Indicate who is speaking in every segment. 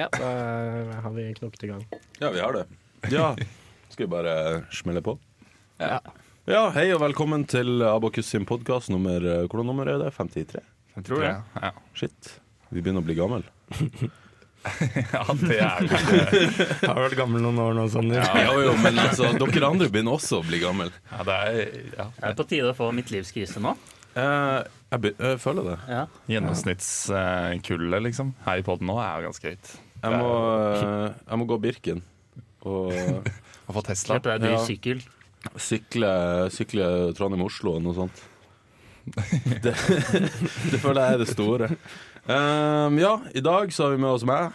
Speaker 1: Ja, da eh, har vi knokket i gang.
Speaker 2: Ja, vi har det.
Speaker 3: Ja.
Speaker 2: Skal vi bare smelle på?
Speaker 3: ja, hei og velkommen til Abokus sin podkast nummer eh, Hvordan nummer er det? 53?
Speaker 4: Jeg tror det. Ja,
Speaker 3: Shit, vi begynner å bli gammel.
Speaker 4: ja det er det.
Speaker 1: Jeg har vært gammel noen år nå, Sander.
Speaker 3: Ja, jo, jo, men altså, dere andre begynner også å bli gammel.
Speaker 4: Ja, det er ja.
Speaker 5: Det er på tide å få midtlivskrise nå.
Speaker 3: Eh, jeg, be jeg føler det.
Speaker 5: Ja.
Speaker 4: Gjennomsnittskullet liksom, her i podden nå er jo ganske høyt.
Speaker 3: Jeg må, eh, jeg må gå Birken og
Speaker 4: Å få Tesla
Speaker 5: Klart det er dyr
Speaker 3: Ja.
Speaker 5: sykkel.
Speaker 3: sykle, sykle Trondheim-Oslo og noe sånt. Det, det føler jeg er det store. Eh, ja, i dag så har vi med oss meg.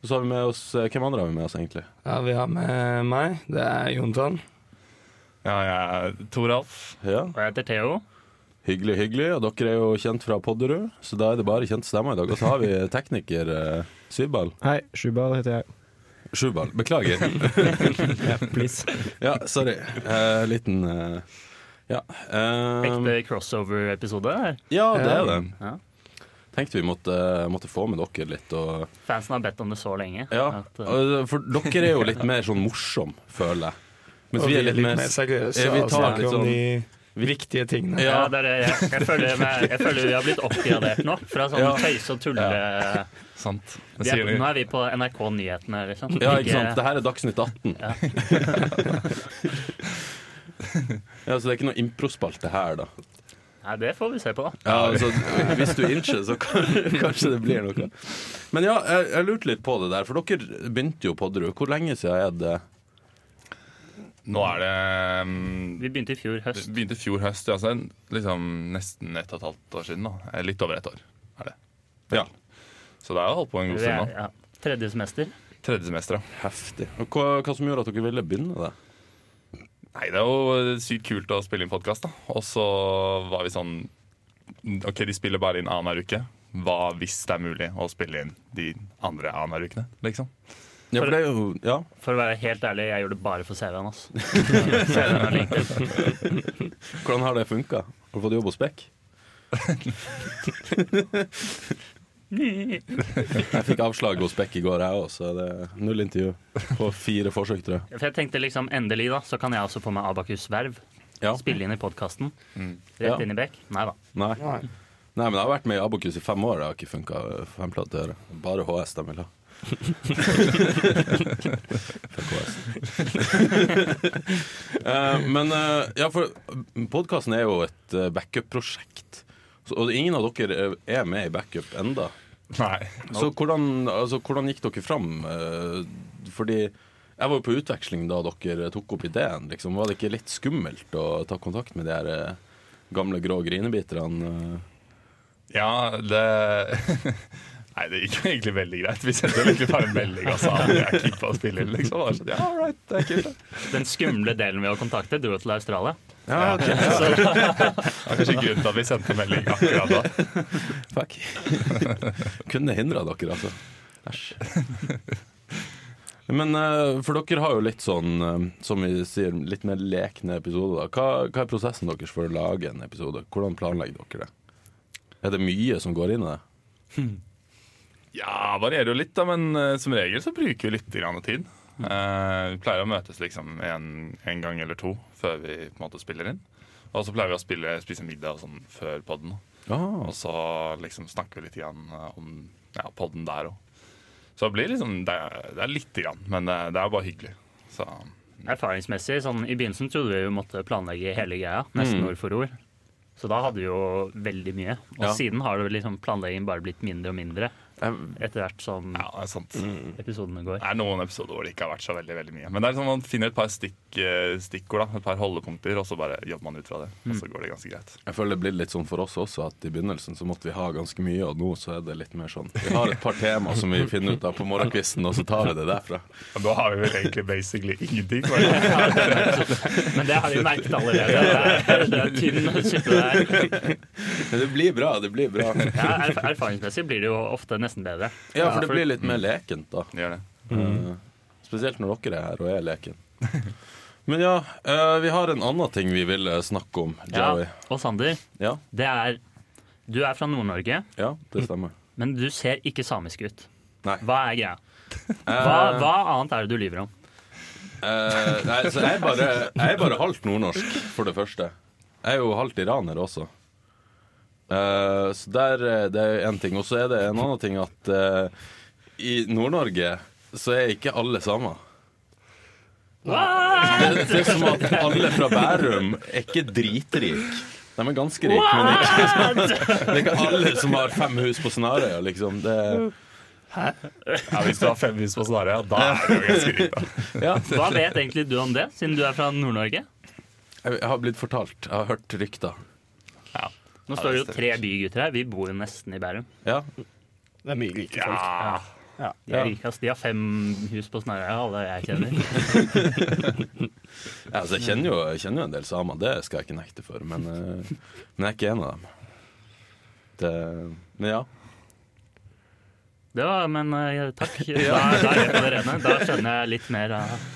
Speaker 3: Og så har vi med oss eh, Hvem andre har vi med oss, egentlig?
Speaker 1: Ja, vi har med meg. Det er Jontan.
Speaker 4: Ja, jeg er Toralf.
Speaker 3: Ja.
Speaker 5: Og jeg heter Theo.
Speaker 3: Hyggelig, hyggelig. Og dere er jo kjent fra Podderud, så da er det bare kjente stemmer i dag. Og så har vi tekniker eh, Syvball.
Speaker 1: Hei, Sjubal heter jeg.
Speaker 3: Sjuball, beklager.
Speaker 1: Please.
Speaker 3: Ja, sorry. Eh, liten eh, Ja. ehm,
Speaker 5: Ekte crossover-episode. her.
Speaker 3: ja, det er det.
Speaker 5: Ja.
Speaker 3: Tenkte vi måtte, måtte få med dere litt. Og,
Speaker 5: Fansen har bedt om det så lenge.
Speaker 3: ja,
Speaker 5: At, uh,
Speaker 3: og- for dere er jo litt mer sånn morsom, føler jeg. Mens vi er litt mer
Speaker 1: seriøse
Speaker 3: Ja, vi
Speaker 1: og
Speaker 3: tar
Speaker 1: snakker
Speaker 3: litt
Speaker 1: om
Speaker 3: sånn-
Speaker 1: de viktige tingene.
Speaker 5: ja,
Speaker 3: ja.
Speaker 5: det er det. Jeg, jeg, føler meg, jeg føler vi har blitt oppgradert nå. Fra sånn
Speaker 3: Ja.
Speaker 5: tøyse og tulle
Speaker 4: Sant. Det
Speaker 5: vi er,
Speaker 4: sier de.
Speaker 5: Nå er vi på NRK Nyhetene, liksom.
Speaker 3: Ja, ikke sant. Det her er Dagsnytt 18.
Speaker 5: Ja.
Speaker 3: Ja, Så det er ikke noe improspalte her, da.
Speaker 5: Nei, det får vi se på, da.
Speaker 3: Ja, altså, hvis du innser, så kan, kanskje det blir noe. Men ja, jeg, jeg lurte litt på det der, for dere begynte jo Podderud. Hvor lenge siden er det?
Speaker 4: Nå er det um,
Speaker 5: Vi begynte i fjor
Speaker 4: det
Speaker 5: høst.
Speaker 4: Begynte i fjor høst, ja, så en- liksom nesten ett og et halvt år siden. da Eh, Litt over et år er det.
Speaker 3: Ja.
Speaker 4: Så det er jo holdt på en god
Speaker 5: Vi
Speaker 4: stund
Speaker 5: er,
Speaker 4: nå.
Speaker 5: ja, tredje semester.
Speaker 4: Tredje semester, ja.
Speaker 3: Heftig. Og hva, hva som gjorde at dere ville begynne det?
Speaker 4: Nei, det er jo eh, sykt kult å spille inn podkast, da. Og så var vi sånn OK, de spiller bare inn annenhver uke. Hva hvis det er mulig å spille inn de andre annenhver ukene, liksom?
Speaker 3: Ja, for det er jo Ja.
Speaker 5: For å være helt ærlig, jeg gjorde det bare for CV-en. Altså. CV-en er link.
Speaker 3: Hvordan har det funka? Har du fått jobb hos Spekk? jeg fikk avslag hos Spekk i går, jeg òg, så det er null intervju. På fire forsøk, tror jeg.
Speaker 5: For jeg tenkte liksom, endelig da, så kan jeg også få meg Abakus-verv.
Speaker 3: Ja. Mm.
Speaker 5: Spille inn i podkasten.
Speaker 3: Ja.
Speaker 5: Rett inn i bekk. Nei da.
Speaker 3: Nei. Nei,
Speaker 1: Nei.
Speaker 3: men jeg har vært med i Abokus i fem år, det har ikke funka. Femplate å gjøre. Bare HS de vil ha. Fuck HS. Eh, men eh, ja, for podkasten er jo et eh, backup-prosjekt. Så- Og ingen av dere eh, er med i backup enda.
Speaker 4: Nei.
Speaker 3: Så hvordan, altså, hvordan gikk dere fram? Eh, Fordi jeg var jo på utveksling da dere tok opp ideen. Liksom. Var det ikke litt skummelt å ta kontakt med de her eh, gamle grå grinebiterne? eh?
Speaker 4: Ja, det Nei, det gikk jo egentlig veldig greit. Vi sendte jo egentlig bare en melding og sa at vi er keen på å spille inn, liksom. Og det var sånn, ja, all right, det er kult. det.
Speaker 5: Den skumle delen ved å kontakte dro til Australia.
Speaker 3: Ja, ok.
Speaker 4: Det er kanskje grunnen til at vi sendte melding akkurat da.
Speaker 3: Fuck. Kunne hindra dere, altså. Æsj. Men eh, for dere har jo litt sånn, eh, som vi sier, litt mer lekne episoder. da. Hva, hva er prosessen deres for å lage en episode? Hvordan planlegger dere det? Er det mye som går inn i det?
Speaker 4: Ja, varierer jo litt, da, men eh, som regel så bruker vi litt grann tid. Eh, vi pleier å møtes liksom en, en gang eller to før vi på en måte spiller inn. Og så pleier vi å spille, spise middag og sånn før podden.
Speaker 3: Ah,
Speaker 4: Og så liksom snakker vi litt grann eh, om ja, podden der òg. Så det blir liksom Det er, det er lite grann, men det, det er bare hyggelig. Så
Speaker 5: Erfaringsmessig, sånn, I begynnelsen trodde vi vi måtte planlegge hele greia, nesten
Speaker 3: Mm.
Speaker 5: ord for ord. Så da hadde vi jo veldig mye. Og
Speaker 3: Ja.
Speaker 5: siden har det liksom planleggingen bare blitt mindre og mindre
Speaker 3: jeg,
Speaker 5: etter hvert som
Speaker 4: ja, det er sant.
Speaker 5: Mm. episodene går.
Speaker 4: Det er noen episoder hvor det ikke har vært så veldig veldig mye. Men det er sånn man finner et par stikk, eh, stikkord, da, et par holdepunkter, og så bare jobber man ut fra det. Og så går det ganske greit.
Speaker 3: Jeg føler det blir litt sånn for oss også, at i begynnelsen så måtte vi ha ganske mye, og nå så er det litt mer sånn Vi har et par tema som vi finner ut av på morgenkvisten, og så tar vi det derfra.
Speaker 4: Og da har vi vel egentlig basically ingenting. bare.
Speaker 5: Men det har vi merket allerede. Det er, det er tynn suppe der.
Speaker 3: Men det blir bra, det blir bra.
Speaker 5: Ja, erf- erfaringsmessig blir det jo ofte nesten bedre.
Speaker 3: Ja, for det blir litt mer lekent, da.
Speaker 4: Gjør det.
Speaker 3: Eh, Spesielt når dere er her og er leken. Men ja, eh, vi har en annen ting vi ville snakke om,
Speaker 5: Ja.
Speaker 3: Joey.
Speaker 5: Og Sander,
Speaker 3: Ja,
Speaker 5: det er Du er fra Nord-Norge,
Speaker 3: ja det stemmer.
Speaker 5: men du ser ikke samisk ut.
Speaker 3: Nei.
Speaker 5: Hva er greia? Hva, hva annet er det du lyver om?
Speaker 3: Eh, nei, så jeg er bare, jeg er bare halvt nordnorsk, for det første. Jeg er jo halvt iraner også. Eh, så der, eh, det er én ting. Og så er det en annen ting at eh, i Nord-Norge så er ikke alle samer. Det, det er som at alle fra Bærum er ikke dritrik. De er ganske rike, men ikke, det er ikke alle som har fem hus på Snarøya, liksom. Det,
Speaker 4: Ja, Hvis du har fem hus på Snarøya, da er det jo ganske rikt. da.
Speaker 3: ja,
Speaker 5: Hva vet egentlig du om det, siden du er fra Nord-Norge?
Speaker 3: jeg, jeg har blitt fortalt. Jeg har hørt rykter.
Speaker 5: Nå står det jo tre bygutter her. Vi bor jo nesten i Bærum.
Speaker 3: Ja,
Speaker 1: Det er mye rike folk.
Speaker 4: Ja.
Speaker 5: De er
Speaker 3: Ja.
Speaker 5: rikest. De har fem hus på Snarøya, alle jeg kjenner.
Speaker 3: Ja, altså, jeg, kjenner jo, jeg kjenner jo en del samer, det skal jeg ikke nekte for, men, eh, men jeg er ikke en av dem. Det, men ja.
Speaker 5: Det var, men eh, takk. Da, da er jeg på det rene. Da skjønner jeg litt mer av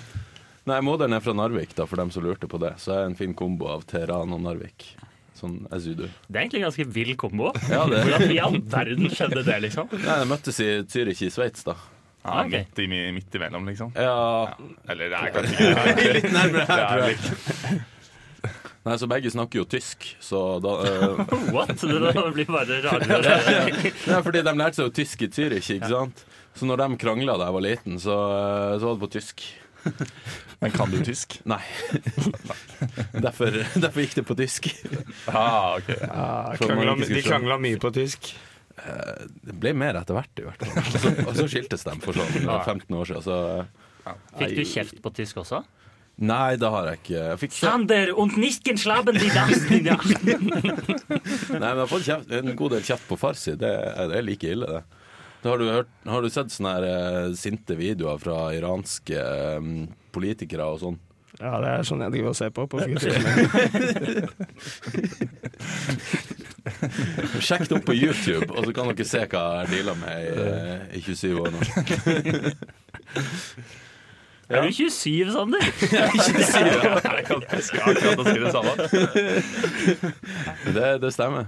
Speaker 3: Nei, moderen er fra Narvik, da, for dem som lurte på det. Så jeg er en fin kombo av Teheran og Narvik. Sånn as you do.
Speaker 5: Det er egentlig en ganske vill kombo.
Speaker 3: Ja, det-
Speaker 5: Hvordan i all verden skjedde det, liksom?
Speaker 3: Nei, jeg møttes i Zürich i Sveits, da.
Speaker 4: Ja,
Speaker 5: Ok.
Speaker 4: midt, i, midt imellom, liksom.
Speaker 3: Ja,
Speaker 4: Eller det er kanskje ikke
Speaker 3: litt nærmere her,
Speaker 4: det er
Speaker 3: tror jeg.
Speaker 4: litt,
Speaker 3: Nei, så begge snakker jo tysk, så da eh,
Speaker 5: What? Det da blir bare rarere og rarere.
Speaker 3: Nei, fordi de lærte seg jo tysk i Zürich, ikke sant? Så når de krangla da jeg var liten, så, eh, så var det på tysk.
Speaker 4: Men kan du tysk?
Speaker 3: Nei. Derfor, derfor gikk det på tysk.
Speaker 4: Ah, ok.
Speaker 1: Ja,
Speaker 3: For at man
Speaker 1: krangla,
Speaker 3: ikke skulle
Speaker 1: de
Speaker 3: skjønne.
Speaker 1: krangla mye på tysk.
Speaker 3: Det ble mer etter hvert, i hvert fall. Og så, og så skiltes de for sånn eh, 15 år siden. Så eh,
Speaker 5: Fikk du kjeft på tysk også?
Speaker 3: Nei, det har jeg ikke. Jeg fikk kjeft.
Speaker 5: Sander und nisken slaben die dansen ja.
Speaker 3: Nei, men jeg har fått kjeft, en god del kjeft på farsi. Det, er- det er like ille, det. Da har, du hørt, har du sett sånne her, eh, sinte videoer fra iranske eh, politikere og sånn?
Speaker 1: Ja, det er sånn jeg driver og ser på. på fritiden.
Speaker 3: Sjekk det opp på YouTube, og så kan dere se hva jeg dealer med i, eh, i 27 år nå.
Speaker 5: Er du 27, Sander?
Speaker 4: Jeg kan tysk, jeg har akkurat å si det samme.
Speaker 3: Det, det stemmer.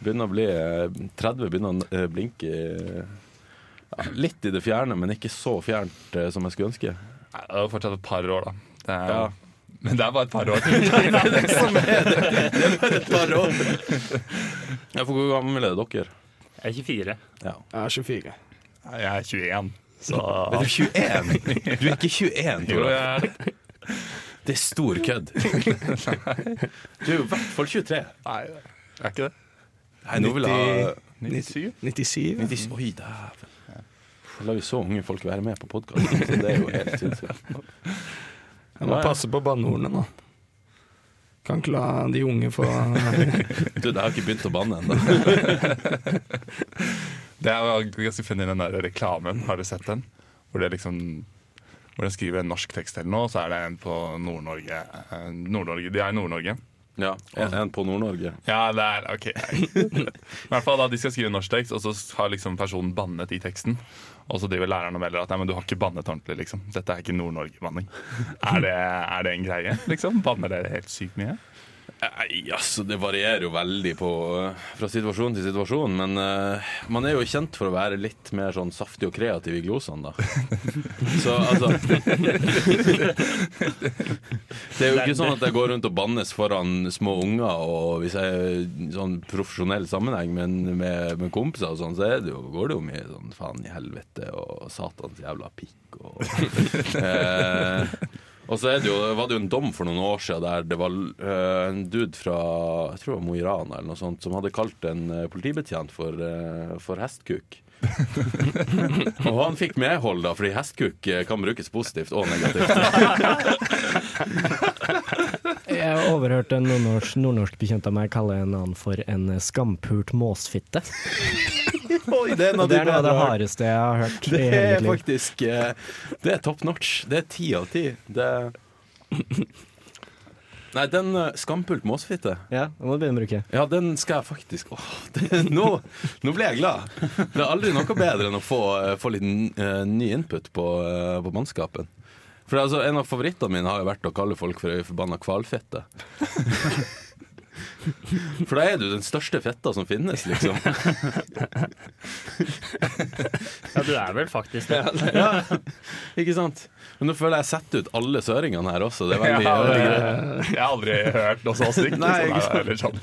Speaker 3: Begynner å bli eh, 30, begynner å eh, blinke i- ja, litt i det fjerne, men ikke så fjernt eh, som jeg skulle ønske.
Speaker 4: Nei, Det er jo fortsatt et par år, da. Det er,
Speaker 3: Ja.
Speaker 4: Men det er bare et par år.
Speaker 3: Ja, for Hvor gammel er dere?
Speaker 5: Jeg er 24.
Speaker 3: Ja.
Speaker 1: Jeg er 24.
Speaker 4: Jeg er 21, så
Speaker 3: Er du 21? Du er ikke 21,
Speaker 4: jo,
Speaker 3: Tora.
Speaker 4: jeg,
Speaker 3: Det er stor kødd. Du er jo i hvert fall 23.
Speaker 4: Nei, jeg er ikke det.
Speaker 3: Nei, nå vil jeg ha
Speaker 4: 97?
Speaker 1: 97?
Speaker 3: Nitti- Oi, dæven. Da lar vi så unge folk være med på podkasten. Det er jo helt sinnssykt.
Speaker 1: Jeg må
Speaker 3: Ja, ja.
Speaker 1: passe på banneordene nå. Kan ikke la de unge få
Speaker 3: Du, jeg har ikke begynt å banne ennå.
Speaker 4: Det er jo ganske funny den der reklamen, har du sett den? Hvor det liksom Hvor de skriver en norsk tekst eller noe, og så er det en på Nord-Norge. eh, Nord-Norge, De er i Nord-Norge.
Speaker 3: Ja, en en på Nord-Norge.
Speaker 4: Ja, det er ok. I hvert fall da de skal skrive norsk tekst, og så har liksom personen bannet i teksten. Og så driver læreren og melder at nei, men du har ikke bannet ordentlig. liksom. Dette er ikke Nord-Norge-banning. Er, det- er det en greie? liksom? Banner dere helt sykt mye?
Speaker 3: Nei, altså, det varierer jo veldig på, eh, fra situasjon til situasjon, men eh, man er jo kjent for å være litt mer sånn saftig og kreativ i glosene, da. Så altså Det er jo ikke sånn at jeg går rundt og bannes foran små unger, og hvis jeg er i sånn profesjonell sammenheng men med, med kompiser og sånn, så er det jo, går det jo mye sånn faen i helvete og satans jævla pikk og eh, og så er det jo, var det jo en dom for noen år siden der det var eh, en dude fra jeg tror det var Mo i Rana eller noe sånt, som hadde kalt en eh, politibetjent for, eh, for hestkuk. og han fikk medhold, da, fordi hestkuk eh, kan brukes positivt og negativt.
Speaker 6: Jeg overhørte en nordnorsk, nordnorsk bekjent av meg kalle en annen for en skampult måsfitte.
Speaker 3: det er
Speaker 6: Og det er noe av det hardeste jeg har hørt i
Speaker 3: Det
Speaker 6: hele
Speaker 3: er
Speaker 6: mitt liv.
Speaker 3: faktisk eh, Det er top notch. Det er ti av ti. Det Nei, den eh, skampult måsfitte
Speaker 6: Ja, det må du begynne å bruke.
Speaker 3: Ja, den skal jeg faktisk Åh, det, nå, nå ble jeg glad! Det er aldri noe bedre enn å få, få litt eh, ny input på, eh, på eh, mannskapen. For altså, en av favorittene mine har jo vært å kalle folk for ei forbanna hvalfette. For da er du den største fetta som finnes, liksom.
Speaker 5: Ja, du er vel faktisk det.
Speaker 3: Ja, ikke sant? Men nå føler jeg jeg setter ut alle søringene her også. Det er veldig,
Speaker 4: Ja, det-
Speaker 3: veldig greit.
Speaker 4: jeg har aldri hørt noe så stygt.
Speaker 3: Nei, ikke
Speaker 4: så det er sånn.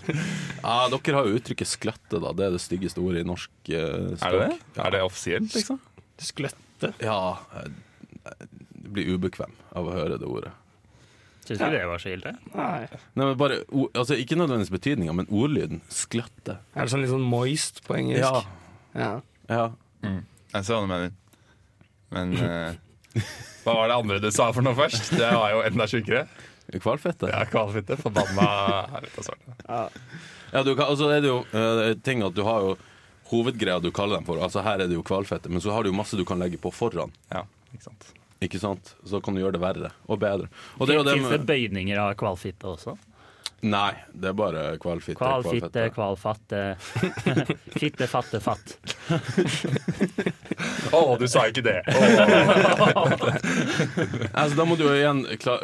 Speaker 3: Ja, dere har jo uttrykket 'sklatte', da. Det er det styggeste ordet i norsk eh,
Speaker 4: Er det
Speaker 3: språk.
Speaker 4: det? Er det offisielt, liksom?
Speaker 1: Skløtte.
Speaker 3: Ja, jeg jeg blir ubekvem av å høre det ordet.
Speaker 5: Syns ikke det var så ille.
Speaker 1: Nei.
Speaker 3: Nei, men bare, o- altså, ikke nødvendigvis betydninga, men ordlyden. 'Sklatte'.
Speaker 1: Er det sånn litt sånn moist på engelsk?
Speaker 3: Ja,
Speaker 1: ja.
Speaker 3: ja.
Speaker 4: Jeg ser hva du mener. Men eh, hva var det andre du sa for noe først? Det var jo enda sjukere.
Speaker 3: Hvalfette.
Speaker 4: Ja, Hvalfitte. Forbanna helvete svarte.
Speaker 3: Ja, du kan, altså er det jo eh, ting at du har jo hovedgreia du kaller dem for. Altså her er det jo hvalfette, men så har du jo masse du kan legge på foran.
Speaker 4: Ja, ikke sant.
Speaker 3: Ikke sant? Så kan du gjøre det verre og bedre. Og det er jo det
Speaker 5: Fins det
Speaker 3: med
Speaker 5: bøyninger av kvalfitte også?
Speaker 3: Nei, det er bare hvalfitte.
Speaker 5: Kvalfitte, kvalfatte Fitte, fatte, fatt.
Speaker 4: Å, du sa ikke det!
Speaker 3: Altså, da må du jo igjen kla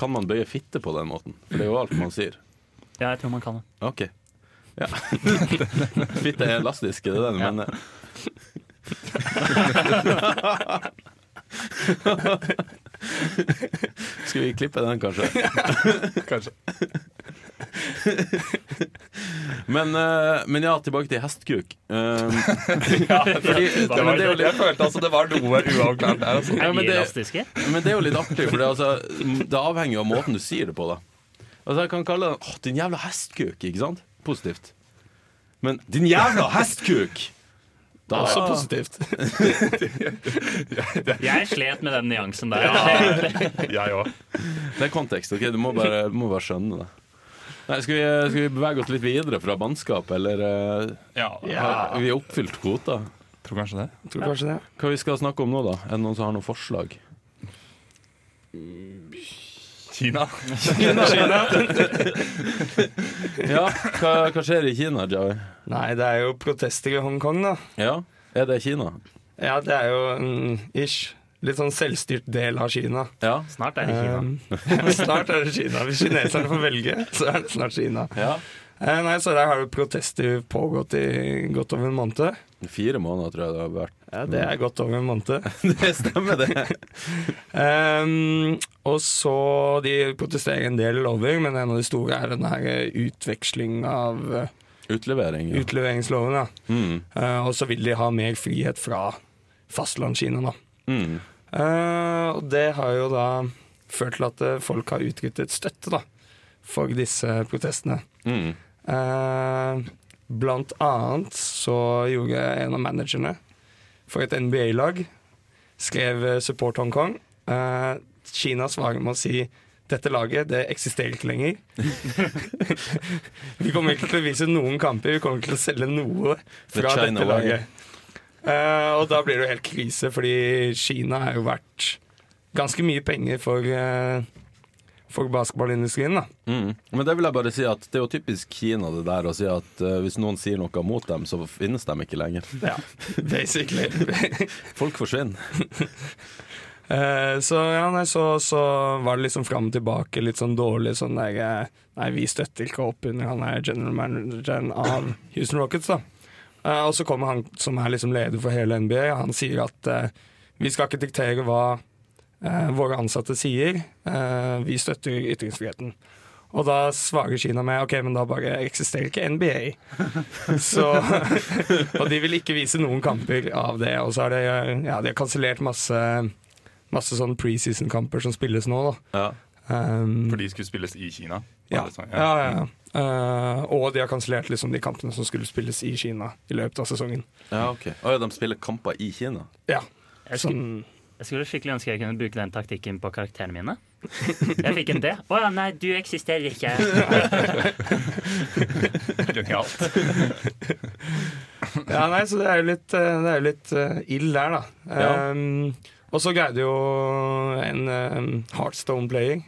Speaker 3: Kan man bøye fitte på den måten? For det er jo alt man sier.
Speaker 5: Ja, jeg tror man kan det.
Speaker 3: OK. Ja. fitte er elastisk, er det det du
Speaker 5: Ja.
Speaker 3: mener? Skal vi klippe den, kanskje?
Speaker 4: Kanskje.
Speaker 3: Men, eh, men ja, tilbake til hestkuk. Eh, fordi,
Speaker 4: Det
Speaker 3: men,
Speaker 4: var,
Speaker 3: det er jo
Speaker 4: jeg
Speaker 3: litt,
Speaker 4: følte altså det var noe uavklart der. Altså.
Speaker 5: Er
Speaker 3: men
Speaker 5: de
Speaker 3: det-
Speaker 5: elastiske?
Speaker 3: men det er jo litt artig, for det, er altså, det avhenger jo av måten du sier det på. da Altså Jeg kan kalle den Åh, 'din jævla hestkuk', ikke sant? Positivt. Men 'din jævla hestkuk'! Da,
Speaker 1: Også positivt.
Speaker 5: Jeg slet med den nyansen der.
Speaker 4: Jeg òg.
Speaker 3: det er kontekst. ok, Du må bare, må bare skjønne det. Nei, skal, vi, skal vi bevege oss litt videre fra bannskap, eller eh,
Speaker 4: Ja.
Speaker 3: har vi oppfylt kvota?
Speaker 4: Tror kanskje det.
Speaker 1: Tror du kanskje det.
Speaker 3: Hva vi skal snakke om nå, da? Er det noen som har noen forslag?
Speaker 4: Kina.
Speaker 3: Ja, hva, hva skjer i Kina, Jawi?
Speaker 1: Nei, det er jo protester i Hongkong, da.
Speaker 3: Ja, er det Kina?
Speaker 1: Ja, det er jo en ish. Litt sånn selvstyrt del av Kina.
Speaker 3: Ja.
Speaker 5: Snart er det Kina.
Speaker 1: Um, snart er det Kina. Hvis kineserne får velge, så er det snart Kina.
Speaker 3: ja.
Speaker 1: Eh, nei, så der har jo protester pågått i godt over en måned.
Speaker 3: Fire måneder tror jeg det har vært.
Speaker 1: Ja, det er godt over en måned.
Speaker 3: Det stemmer, det.
Speaker 1: Um, og så De protesterer en del lover, men en av de store er den her eh, utveksling av eh,
Speaker 3: Utlevering. Ja.
Speaker 1: utleveringsloven. Ja.
Speaker 3: Mm.
Speaker 1: Eh, og så vil de ha mer frihet fra fastlandskina, da.
Speaker 3: Mm.
Speaker 1: Eh, og det har jo da ført til at eh, folk har utryttet støtte da, for disse protestene.
Speaker 3: Mm.
Speaker 1: Eh, blant annet så gjorde en av managerne for et NBA-lag, skrev eh, Support Hongkong. Eh, Kina svarer med å si dette laget det eksisterer ikke lenger. vi kommer ikke til å vise noen kamper, vi kommer ikke til å selge noe
Speaker 3: The
Speaker 1: fra
Speaker 3: China
Speaker 1: dette
Speaker 3: way.
Speaker 1: laget. Eh, og da blir det jo helt krise, fordi Kina er jo verdt ganske mye penger for, eh, for basketballindustrien. da.
Speaker 3: Mm. Men det vil jeg bare si at det er jo typisk Kina det der å si at eh, hvis noen sier noe mot dem, så finnes de ikke lenger.
Speaker 1: Ja, basically.
Speaker 3: Folk forsvinner.
Speaker 1: Eh, så ja, nei, så, så var det liksom fram og tilbake, litt sånn dårlig sånn der eh, Nei, vi støtter ikke opp under han er general manageren av Houston Rockets, da. Eh, og så kommer han som er liksom leder for hele NBA, han sier at eh, vi skal ikke diktere hva eh, våre ansatte sier, eh, vi støtter ytringsfriheten. Og da svarer Kina med ok, men da bare eksisterer ikke NBA. Så, og de vil ikke vise noen kamper av det. Og så har de, ja, de har kansellert masse, masse sånn preseason-kamper som spilles nå. Da.
Speaker 3: Ja.
Speaker 1: Um,
Speaker 4: For de skulle spilles i Kina.
Speaker 1: ja.
Speaker 4: Var det sånn?
Speaker 1: ja, ja, ja. Eh, og de har kansellert liksom, de kampene som skulle spilles i Kina i løpet av sesongen.
Speaker 3: ja, ok. Å ja, de spiller kamper i Kina?
Speaker 1: Ja,
Speaker 5: Jeg skulle,
Speaker 1: sånn,
Speaker 5: jeg skulle skikkelig ønske jeg kunne bruke den taktikken på karakterene mine. Jeg fikk en D. Å ja, nei, du eksisterer ikke.
Speaker 4: Genialt.
Speaker 1: ja, nei, så det er jo litt, eh, det er jo litt eh, ild der, da.
Speaker 3: Ja.
Speaker 1: Um, og så greide jo en um, Heartstone-player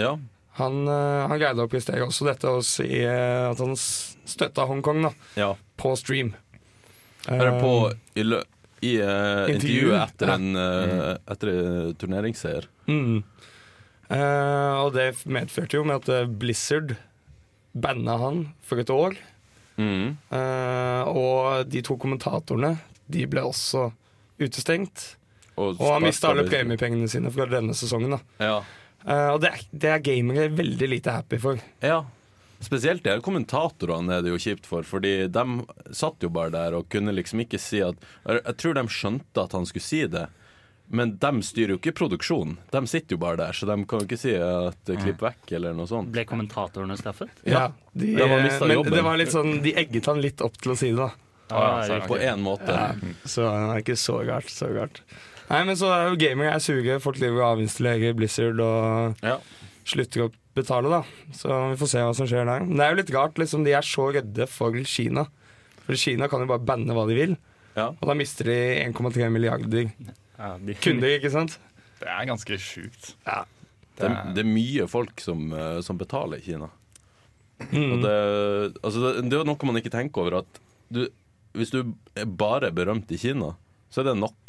Speaker 3: Ja.
Speaker 1: han, eh, han greide å prestere også dette og si eh, at han s- støtta Hongkong da,
Speaker 3: ja.
Speaker 1: på stream.
Speaker 3: Er det på i lø i eh,
Speaker 1: Intervju.
Speaker 3: intervjuet etter
Speaker 1: Eh, Ja.
Speaker 3: en eh, etter en turneringsseier.
Speaker 1: Mm. Eh, og det medførte jo med at eh, Blizzard banna han for et år.
Speaker 3: Mm.
Speaker 1: Eh, og de to kommentatorene De ble også utestengt. Og han mista alle premiepengene sine fra denne sesongen. Da.
Speaker 3: Ja.
Speaker 1: Eh, og det er, det er gamere veldig lite happy for.
Speaker 3: ja. Spesielt de her kommentatorene er det jo kjipt for, fordi de satt jo bare der og kunne liksom ikke si at eller Jeg tror de skjønte at han skulle si det, men de styrer jo ikke produksjonen. De sitter jo bare der, så de kan jo ikke si at eh, klipp vekk eller noe sånt.
Speaker 5: Ble kommentatorene straffet?
Speaker 1: Ja, de,
Speaker 3: de har
Speaker 1: eh,
Speaker 3: mistet
Speaker 1: men
Speaker 3: jobben.
Speaker 1: det var litt sånn, de egget han litt opp til å si det, da.
Speaker 4: Ah, ja,
Speaker 3: På én måte.
Speaker 1: Så det er ikke så galt, så galt. Nei, men så er jo gamere er suge. Folk driver og avinnstallerer Blizzard og
Speaker 3: Ja.
Speaker 1: slutter å betale, da. Så vi får se hva som skjer der. Men det er jo litt rart, liksom. De er så redde for Kina. For Kina kan jo bare banne hva de vil,
Speaker 3: Ja.
Speaker 1: og da mister de 1,3 milliarder
Speaker 5: Ja, de-
Speaker 1: kunder, ikke sant?
Speaker 4: Det er ganske sjukt.
Speaker 3: Det, er- det er mye folk som, eh, som betaler i Kina. Og
Speaker 1: Mm.
Speaker 3: det, altså det, det er jo noe man ikke tenker over. At du, hvis du er bare berømt i Kina, så er det nok.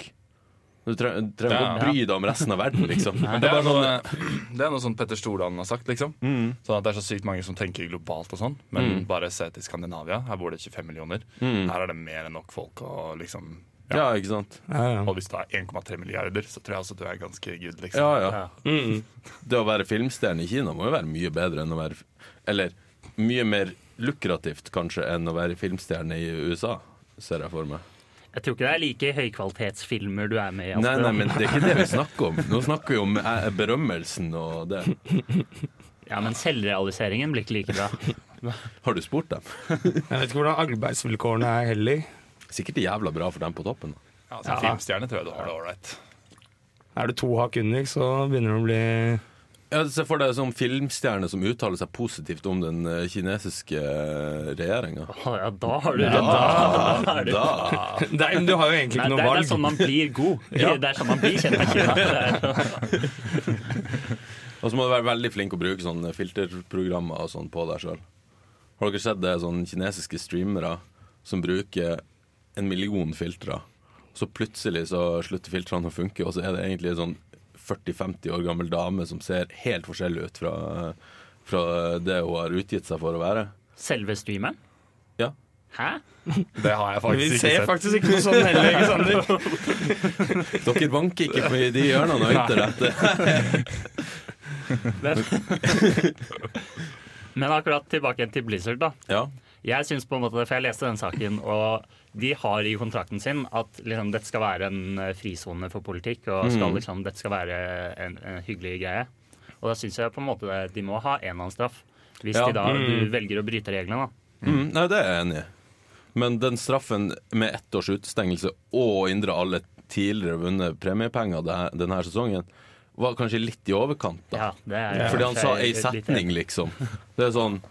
Speaker 3: Du tre- trenger ikke
Speaker 4: Ja.
Speaker 3: å bry deg om resten av verden, liksom.
Speaker 4: Men
Speaker 3: Det
Speaker 4: det
Speaker 3: er
Speaker 4: er
Speaker 3: bare sånn,
Speaker 4: noe, det er noe sånn Petter Stordalen har sagt, liksom. Sånn at det er så sykt mange som tenker globalt og sånn. Men bare se til Skandinavia. Her bor det 25 millioner. Her er det mer enn nok folk å liksom ja.
Speaker 3: ja, ikke sant.
Speaker 1: Ja, ja.
Speaker 4: Og hvis du har 1,3 milliarder, så tror jeg altså du er ganske good, liksom.
Speaker 3: Ja, ja.
Speaker 5: Ja.
Speaker 1: Mm.
Speaker 3: Det å være filmstjerne i Kina må jo være mye bedre enn å være Eller mye mer lukrativt, kanskje, enn å være filmstjerne i USA, ser jeg for meg.
Speaker 5: Jeg tror ikke det er like høykvalitetsfilmer du er med i. ofte,
Speaker 3: Nei,
Speaker 5: da.
Speaker 3: nei, men det er ikke det vi snakker om. Nå snakker vi om eh, berømmelsen og det.
Speaker 5: Ja, men selvrealiseringen blir ikke like bra.
Speaker 3: Har du spurt dem?
Speaker 1: Jeg vet ikke hvordan arbeidsvilkårene er heller.
Speaker 3: Sikkert jævla bra for dem på toppen. da.
Speaker 4: Ja, som filmstjerne tror jeg du har det ålreit.
Speaker 1: Er du to hakk under, så begynner det å bli
Speaker 3: Ja, Se for deg som filmstjerne som uttaler seg positivt om den eh, kinesiske eh, regjeringa.
Speaker 5: Å, ja, da har du
Speaker 3: Da,
Speaker 5: da.
Speaker 3: da,
Speaker 1: Nei, men du har jo egentlig
Speaker 5: Nei, det,
Speaker 1: ikke
Speaker 5: er,
Speaker 1: noe
Speaker 5: det er
Speaker 1: valg.
Speaker 5: sånn man blir god. Det er sånn man blir kjent med Kina. Det er-
Speaker 3: Og så må du være veldig flink å bruke sånne filterprogrammer og sånn på deg sjøl. Har dere sett det er sånne kinesiske streamere som bruker en million filtre, så plutselig så slutter filtrene å funke, og så er det egentlig en sånn 40-50 år gammel dame som ser helt forskjellig ut fra, eh, fra det hun har utgitt seg for å være?
Speaker 5: Selve streameren?
Speaker 3: Ja.
Speaker 5: Hæ?
Speaker 4: Det har jeg
Speaker 1: Vi
Speaker 4: faktisk
Speaker 1: ser
Speaker 4: ikke sett.
Speaker 1: faktisk ikke noe sånn heller, ikke sant? Sander?
Speaker 3: Dere vanker ikke på i de hjørnene av internettet.
Speaker 5: Men akkurat tilbake igjen til Blizzard, da.
Speaker 3: Ja.
Speaker 5: Jeg synes på en måte, for jeg leste den saken, og de har i kontrakten sin at liksom, dette skal være en eh, frisone for politikk, og skal,
Speaker 3: Mm.
Speaker 5: liksom, dette skal være en, en hyggelig greie. Og da syns jeg på en måte det- de må ha en eller annen straff, hvis
Speaker 3: Ja.
Speaker 5: de da
Speaker 1: Mm.
Speaker 5: du velger å bryte reglene. da.
Speaker 3: Mm, nei, det er jeg enig i. Men den straffen med ett års utestengelse og å inndra alle tidligere vunnet premiepenger det- denne sesongen, var kanskje litt i overkant, da.
Speaker 5: Ja, det er,
Speaker 3: Fordi han sa ei
Speaker 5: jeg er litt
Speaker 3: setning, liksom. Det er sånn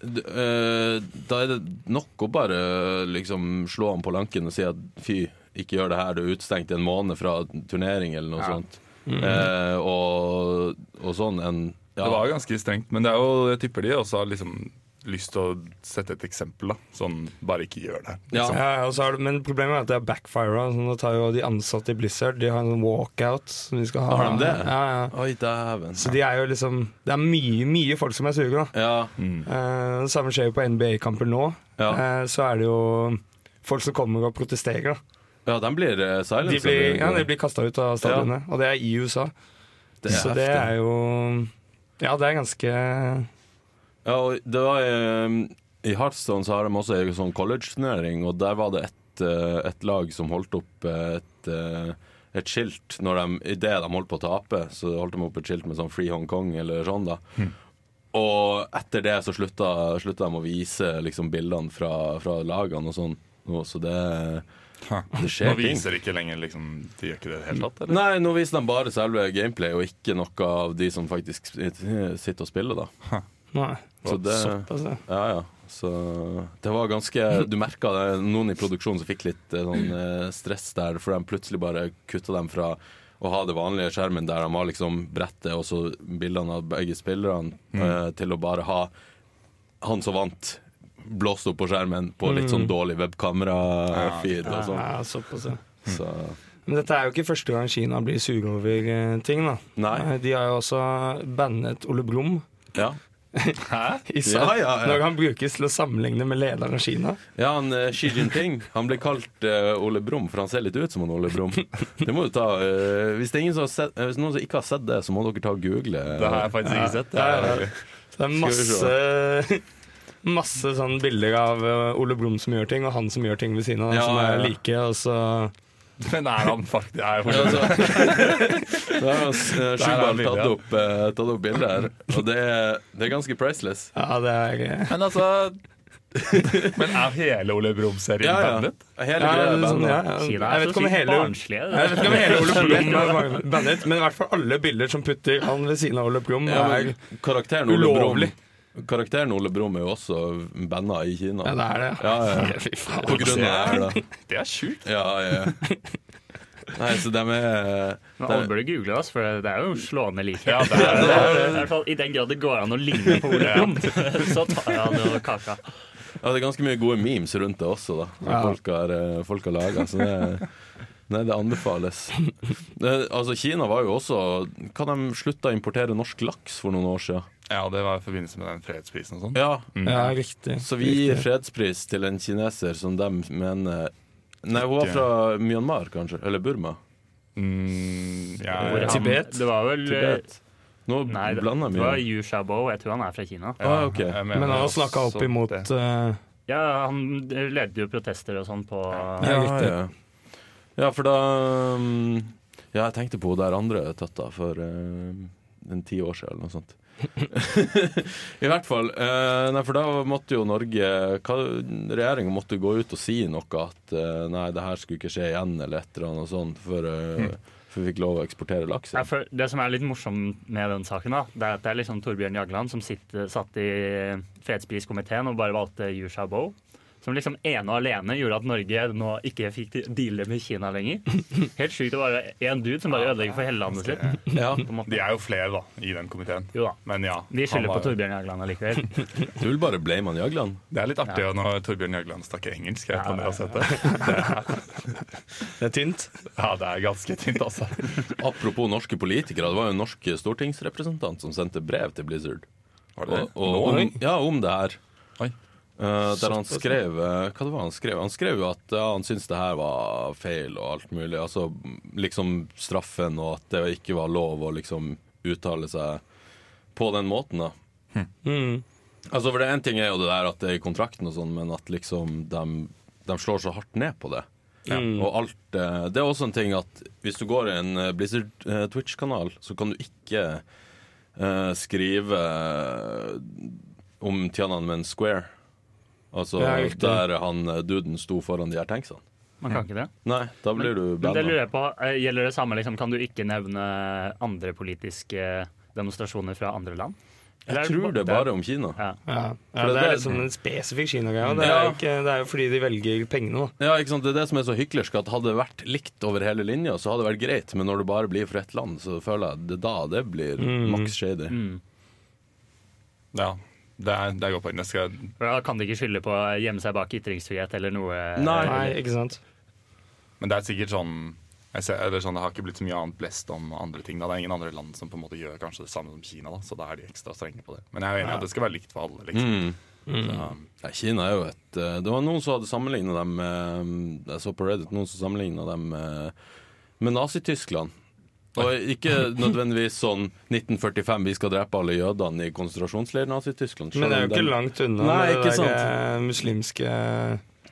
Speaker 3: d- eh, Da er det nok å bare liksom slå han på lanken og si at fy, ikke gjør det her, du er utestengt en måned fra turnering eller noe sånt.
Speaker 5: Mm.
Speaker 3: Eh, og, og sånn en ja.
Speaker 4: Det var jo ganske strengt, men det er jo, jeg tipper de også har liksom lyst til å sette et eksempel. da Sånn, bare ikke gjør det.
Speaker 3: ja.
Speaker 1: Ja, ja, og så er det, men problemet er at det er backfire. Så nå tar jo de ansatte i Blizzard De har en sånn walkout som de skal ha.
Speaker 3: Har de det?
Speaker 1: Ja, ja.
Speaker 3: Oi, dæven.
Speaker 1: Så de er jo liksom Det er mye, mye folk som er suge, da.
Speaker 3: Ja.
Speaker 1: Eh, det samme skjer jo på NBA-kamper nå.
Speaker 3: Ja.
Speaker 1: Eh, så er det jo folk som kommer og protesterer, da.
Speaker 3: Ja, den blir uh, silent.
Speaker 1: De blir, ja, de blir kasta ut av stadionene, og det er i USA.
Speaker 3: det er
Speaker 1: så det
Speaker 3: heftig.
Speaker 1: er jo Ja, det er ganske
Speaker 3: Ja, og det var eh, I Heartstone så har de også en sånn college-turnering, og der var det et, eh, et lag som holdt opp eh, et, eh, et skilt når de, i det de holdt på å tape. Så holdt de opp et skilt med sånn Free Hong Kong eller sånn, da.
Speaker 1: Mm.
Speaker 3: Og etter det så slutta, slutta de å vise liksom bildene fra, fra lagene og sånn. Og Så det, det
Speaker 4: Nå
Speaker 3: skjer ting.
Speaker 4: viser de ikke lenger liksom De gjør ikke det i det hele tatt, eller?
Speaker 3: Nei, nå viser de bare selve gameplay, og ikke noe av de som faktisk sitter og spiller, da.
Speaker 1: Nei.
Speaker 3: Så det,
Speaker 1: Såpass, ja.
Speaker 3: ja, ja. Så det var ganske Du merka det, noen i produksjonen som fikk litt eh, sånn eh, stress der, for de plutselig bare kutta dem fra å ha det vanlige skjermen der de har liksom brettet og så bildene av begge spillerne, eh, til å bare ha han som vant, blåst opp på skjermen på litt sånn dårlig webkamera-feed og sånn.
Speaker 1: Ja, såpass, ja.
Speaker 3: Så
Speaker 1: Men dette er jo ikke første gang Kina blir suge over eh, ting, da.
Speaker 3: Nei.
Speaker 1: Eh, De har jo også bannet Ole Brumm
Speaker 3: Ja.
Speaker 1: i sak
Speaker 3: Ja, ja, ja.
Speaker 1: når han brukes til å sammenligne med lederen av Kina.
Speaker 3: Ja, han, eh, Xi Jinping han blir kalt eh, Ole Brumm, for han ser litt ut som han Ole Brumm. Det må du ta eh, hvis, det er ingen som har sett, eh, hvis noen som ikke har sett det, så må dere ta og google.
Speaker 4: Det har jeg faktisk ikke sett. Det
Speaker 1: Ja,
Speaker 4: er,
Speaker 1: ja. Så det er
Speaker 3: Skal vi se.
Speaker 1: masse Masse sånne bilder av eh, Ole Brumm som gjør ting, og han som gjør ting ved siden av.
Speaker 3: Ja,
Speaker 1: som
Speaker 3: ja,
Speaker 1: er
Speaker 3: ja.
Speaker 1: like, og så
Speaker 4: men er han faktisk
Speaker 3: Ja,
Speaker 4: er fortsatt-
Speaker 3: altså, Da har eh, Sjubal
Speaker 4: bildet,
Speaker 3: tatt
Speaker 4: ja.
Speaker 3: opp, eh, tatt opp bildet her, og det er, det er ganske priceless.
Speaker 1: Ja, det er eh,
Speaker 4: Men altså Men er hele Ole Brumm-serien
Speaker 3: Ja, ja.
Speaker 4: bandet?
Speaker 3: Hele
Speaker 1: ja,
Speaker 3: greia er
Speaker 1: sånn,
Speaker 3: bandet.
Speaker 1: ja, ja.
Speaker 5: Kina
Speaker 1: Jeg
Speaker 5: er
Speaker 1: vet
Speaker 5: så
Speaker 1: ikke om
Speaker 5: sykt
Speaker 1: hele
Speaker 5: barnslige.
Speaker 1: Jeg vet ikke om hele Ole Brumm er bandet, men i hvert fall alle bilder som putter han ved siden av Ole Brumm,
Speaker 3: Ja,
Speaker 1: er
Speaker 3: men karakteren Ole
Speaker 1: ulovlig.
Speaker 3: Brumm Karakteren Ole Brom er jo også banna i Kina.
Speaker 1: Ja, det er det.
Speaker 3: Ja, ja, ja.
Speaker 1: Fy faen.
Speaker 3: På grunn av det. her, da.
Speaker 4: Det er sjukt.
Speaker 3: Ja, ja. ja. Nei, så de er
Speaker 5: Men
Speaker 3: de-
Speaker 5: alle burde google oss, for det er jo slående likhet.
Speaker 4: Ja, det er,
Speaker 5: I hvert fall I den grad det går an å ligne på Ole Brumm, så tar jeg han jo kaka.
Speaker 3: Ja, det er ganske mye gode memes rundt det også, da. Som
Speaker 1: Ja.
Speaker 3: folk har, eh, folk har laga. Så det, nei, det anbefales. Det, altså, Kina var jo også Hva de slutta å importere norsk laks for noen år siden?
Speaker 4: Ja, det var i forbindelse med den fredsprisen og sånn.
Speaker 3: Ja.
Speaker 1: ja, riktig.
Speaker 3: Så vi gir
Speaker 1: riktig.
Speaker 3: fredspris til en kineser som de mener Nei, hun var
Speaker 4: Ikke-
Speaker 3: fra Myanmar, kanskje? Eller Burma?
Speaker 4: Mm,
Speaker 5: Hvor
Speaker 4: jeg,
Speaker 5: han-
Speaker 1: Tibet?
Speaker 5: Det var vel
Speaker 3: Tibet? Nå
Speaker 5: Nei, det
Speaker 3: blander jeg
Speaker 5: det var
Speaker 3: mye.
Speaker 5: Yu Xiaobo. Jeg tror han er fra Kina.
Speaker 3: Ah, ok.
Speaker 4: jeg mener
Speaker 1: Men han har
Speaker 4: også
Speaker 1: snakka
Speaker 3: sånn,
Speaker 1: opp imot
Speaker 4: det.
Speaker 1: eh,
Speaker 5: Ja, Han ledet jo protester og sånn på
Speaker 1: Ja,
Speaker 3: Ja,
Speaker 1: riktig.
Speaker 3: ja. ja, for da um, Ja, jeg tenkte på hun der andre tøtta for um, en ti år siden eller noe sånt. I hvert fall. eh, nei, for da måtte jo Norge Regjeringa måtte gå ut og si noe at eh, nei, det her skulle ikke skje igjen, eller et eller annet sånt, før, eh, før vi fikk lov å eksportere laks.
Speaker 5: Ja, for det som er litt morsomt med den saken, da, det er at det er liksom Torbjørn Jagland som sitter, satt i fredspriskomiteen og bare valgte Yu Xiaobo. Som liksom ene og alene gjorde at Norge nå ikke fikk deale med Kina lenger. Helt sjukt å være én dude som bare ødelegger for hele landet sitt.
Speaker 3: Ja,
Speaker 5: På en måte.
Speaker 4: De er jo flere, da, i den komiteen.
Speaker 5: Jo da.
Speaker 4: Men ja.
Speaker 5: Vi
Speaker 4: han
Speaker 5: skylder
Speaker 4: var
Speaker 5: på
Speaker 4: jo-
Speaker 5: Torbjørn Jagland allikevel.
Speaker 3: du vil bare blame han Jagland?
Speaker 4: Det er litt artig ja. når Torbjørn Jagland snakker engelsk. Jeg vet ikke om dere har sett det.
Speaker 1: Det er tynt.
Speaker 4: Ja, det er ganske tynt, altså.
Speaker 3: Apropos norske politikere, det var jo en norsk stortingsrepresentant som sendte brev til Blizzard.
Speaker 4: Var det det?
Speaker 3: Og, og,
Speaker 4: Nå?
Speaker 3: om, ja, om det her.
Speaker 4: Oi.
Speaker 3: Eh, der han skrev eh, Hva det var han skrev? Han skrev jo at ja, han syntes det her var feil og alt mulig. Altså liksom straffen og at det ikke var lov å liksom uttale seg på den måten, da.
Speaker 4: Hm.
Speaker 3: Altså for det En ting er jo det der at det er i kontrakten og sånn, men at liksom de, de slår så hardt ned på det. Og alt eh, Det er også en ting at hvis du går i en eh, Blizzard eh, Twitch-kanal, så kan du ikke eh, skrive eh, om Tiananmen Square. Altså
Speaker 1: Ja, riktig.
Speaker 3: der han eh, duden sto foran de her tanksene.
Speaker 5: Man kan ikke det.
Speaker 3: Nei, da blir du
Speaker 5: Men det lurer
Speaker 3: banna.
Speaker 5: jeg på, eh, Gjelder det samme? Liksom, kan du ikke nevne andre politiske demonstrasjoner fra andre land? Eller er
Speaker 3: Jeg tror det er bare om Kina.
Speaker 5: ja.
Speaker 1: Ja. Ja,
Speaker 3: det
Speaker 1: det er
Speaker 3: der-
Speaker 1: liksom en spesifikk kinagreie. og Det,
Speaker 3: Ja.
Speaker 1: er jo ikke- det er jo fordi de velger pengene, da.
Speaker 3: Ja, ikke sant? Det er det som er så hyklersk, at hadde det vært likt over hele linja, så hadde det vært greit, men når det bare blir for ett land, så føler jeg det da det blir
Speaker 5: Mm.
Speaker 3: maks shady.
Speaker 4: Ja, det er, det er godt poeng. Jeg skal
Speaker 5: For Da kan de ikke skylde på å gjemme seg bak ytringsfrihet eller noe. eh,
Speaker 3: Nei.
Speaker 1: Nei, ikke sant?
Speaker 4: Men det er sikkert sånn jeg ser, eller sånn, Det har ikke blitt så mye annet blest om andre ting. Da. Det er ingen andre land som på en måte gjør kanskje det samme som Kina, da. så da er de ekstra strenge på det. Men jeg er jo enig i at det skal være likt for alle. Liksom.
Speaker 1: Mm.
Speaker 3: Nei, Mm. Kina er jo et eh, Det var noen som hadde sammenligna dem med mm, Jeg så på Reddit noen som sammenligna dem med, med Nazi-Tyskland. Og ikke nødvendigvis sånn 1945, vi skal drepe alle jødene i konsentrasjonsleir Nazi-Tyskland.
Speaker 1: Men det er jo ikke
Speaker 3: Selv om
Speaker 1: langt unna
Speaker 3: Nei,
Speaker 1: det
Speaker 3: ikke sant.
Speaker 1: der eh, muslimske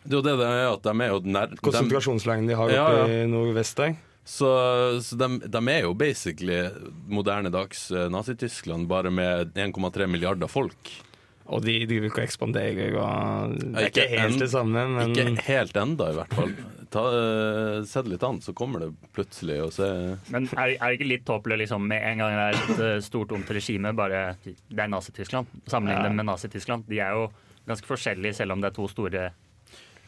Speaker 3: de- Det er jo det det er, at de er jo nær de-
Speaker 1: konsentrasjonsleiren de har oppe
Speaker 3: Ja,
Speaker 1: i nordvest der.
Speaker 3: Så, så de, de er jo basically moderne dags eh, Nazi-Tyskland, bare med 1,3 milliarder folk.
Speaker 1: Og de driver ikke og ekspanderer og Det er
Speaker 3: Ikke
Speaker 1: ikke helt
Speaker 3: en-
Speaker 1: det samme, men
Speaker 3: Ikke helt enda, i hvert fall. Ta, eh, Se det litt an, så kommer det plutselig, og så
Speaker 5: Men er, er det ikke litt tåpelig liksom, med en gang det er et eh, stort, ondt regime, bare Det er Nazi-Tyskland. Sammenlign dem med Nazi-Tyskland. De er jo ganske forskjellige, selv om det er to store,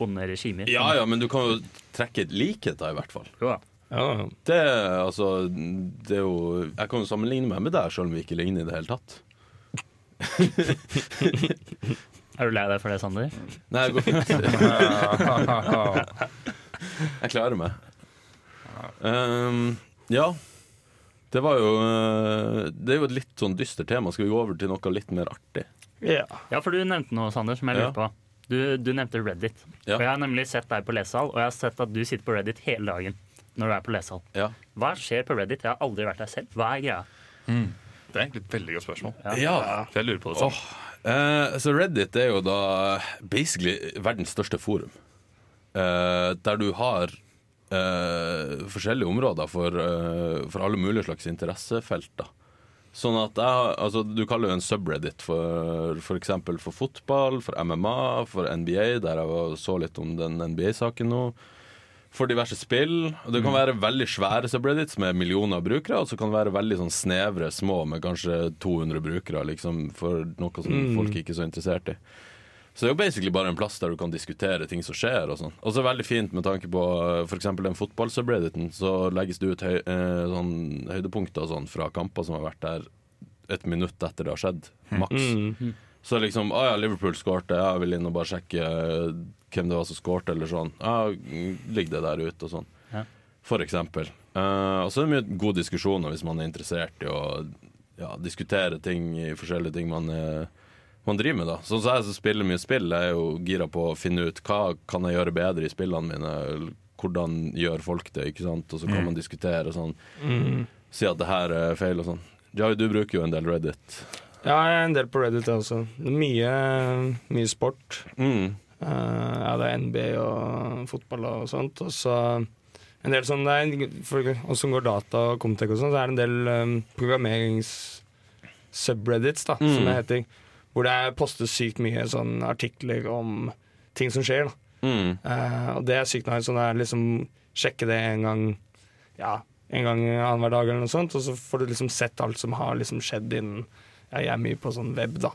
Speaker 5: onde regimer.
Speaker 3: Ja ja, men du kan jo trekke likheter, i hvert fall.
Speaker 5: Jo da.
Speaker 1: ja,
Speaker 3: Det, altså, det er jo Jeg kan jo sammenligne meg med deg, selv om vi ikke ligner i det hele tatt.
Speaker 5: Er du lei deg for det, Sander?
Speaker 3: Nei, det går fint. Jeg klarer meg. Ehm, ja. Det var jo eh, Det er jo et litt sånn dystert tema. Skal vi gå over til noe litt mer artig?
Speaker 1: Ja.
Speaker 5: Ja, for du nevnte noe, Sander, som jeg
Speaker 3: Ja.
Speaker 5: lurte på. Du, du nevnte Reddit.
Speaker 3: Ja.
Speaker 5: Og jeg har nemlig sett deg på lesesal, og jeg har sett at du sitter på Reddit hele dagen når du er på lesesal.
Speaker 3: Ja.
Speaker 5: Hva skjer på Reddit? Jeg har aldri vært der selv. Hva er greia?
Speaker 4: Det er egentlig et veldig godt spørsmål.
Speaker 3: ja.
Speaker 4: For jeg lurer på det sånn.
Speaker 3: Eh, så Reddit er jo da basically verdens største forum. Eh, der du har eh, forskjellige områder for, eh, for alle mulige slags interessefelter. Sånn at jeg, altså, Du kaller jo en subreddit for f.eks. For, for fotball, for MMA, for NBA, der jeg var- så litt om den NBA-saken nå. For diverse spill. og Det kan være veldig svære subreddits med millioner av brukere, og så kan det være veldig sånn snevre små med kanskje 200 brukere, liksom, for noe som folk ikke er så interessert i. Så det er jo basically bare en plass der du kan diskutere ting som skjer. Og sånn. Og så er det veldig fint med tanke på f.eks. den fotballsubredditen. Så legges det ut høy, eh, sånn, høydepunkter og sånn fra kamper som har vært der et minutt etter det har skjedd. Maks. Så liksom Å ja, Liverpool skårte. Ja, jeg vil inn og bare sjekke eh, hvem det var som skårte, eller sånn. Ja, ligger det der ute, og sånn.
Speaker 5: Ja.
Speaker 3: For eksempel. Eh, og så er det mye gode diskusjoner hvis man er interessert i å ja, diskutere ting i forskjellige ting man, eh, man driver med, da. Sånn som jeg som spiller mye spill, jeg er jo gira på å finne ut hva kan jeg gjøre bedre i spillene mine. eller Hvordan gjør folk det, ikke sant? Og så kan man diskutere sånn.
Speaker 1: Mm.
Speaker 3: Si at det her er feil og sånn. Jai, du bruker jo en del Reddit.
Speaker 1: ja, jeg er en del på Reddit, jeg også. Det er Mye, mye sport.
Speaker 3: Mm.
Speaker 1: Eh, ja, det er NBA og fotball og sånt. Og så en del sånn det er, for oss som går data og Comtech og sånn, så er det en del um, programmerings-subreddits, da,
Speaker 3: Mm.
Speaker 1: som det heter. Hvor det er postet sykt mye sånn artikler om ting som skjer. da.
Speaker 3: Mm.
Speaker 1: Eh, og det er sykt nice. Sånn er liksom sjekke det en gang Ja, en gang annenhver dag eller noe sånt, og så får du liksom sett alt som har liksom skjedd innen ja, Jeg er mye på sånn web, da.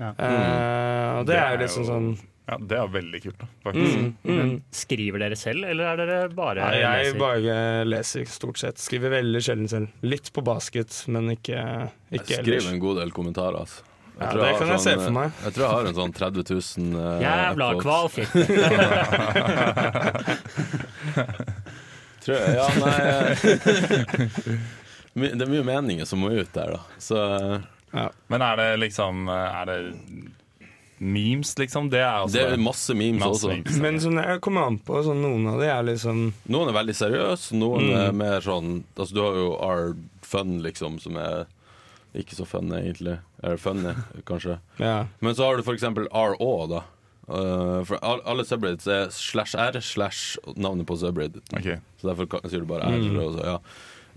Speaker 5: Ja.
Speaker 1: Eh, og det, er jo liksom sånn
Speaker 4: Ja, Det er veldig kult, da, faktisk.
Speaker 1: mm.
Speaker 5: Skriver dere selv, eller er dere bare
Speaker 1: Nei, jeg
Speaker 5: leser?
Speaker 1: bare leser stort sett. Skriver veldig sjelden selv. Litt på basket, men ikke, ikke
Speaker 3: Jeg
Speaker 1: ellers.
Speaker 3: skriver en god del kommentarer, altså.
Speaker 1: Ja,
Speaker 3: tror
Speaker 1: det
Speaker 3: har
Speaker 1: kan jeg se
Speaker 3: sånn,
Speaker 1: for meg.
Speaker 3: Jeg tror jeg har en sånn 30 000 eh,
Speaker 5: Jævla
Speaker 3: upvotes.
Speaker 5: kvalfitte!
Speaker 3: Tror jeg, ja, nei eh, My- Det er mye meninger som må ut der, da. Så eh,
Speaker 4: Men er det liksom Er det memes, liksom? Det er også
Speaker 3: det er masse memes
Speaker 4: Masse
Speaker 3: også.
Speaker 4: memes.
Speaker 1: Men sånn, jeg kommer an på sånn, noen av de er liksom
Speaker 3: Noen er veldig seriøse, noen
Speaker 1: Mm.
Speaker 3: er mer sånn Altså, du har jo R fun, liksom, som er ikke så fun, egentlig. Eller funny, kanskje.
Speaker 1: Ja.
Speaker 3: Men så har du for eksempel RÅ, da. Eh, for all- alle subreddits er slash R slash navnet på subredditen.
Speaker 4: Ok.
Speaker 3: Så derfor kan- sier du bare R. Og, så, ja.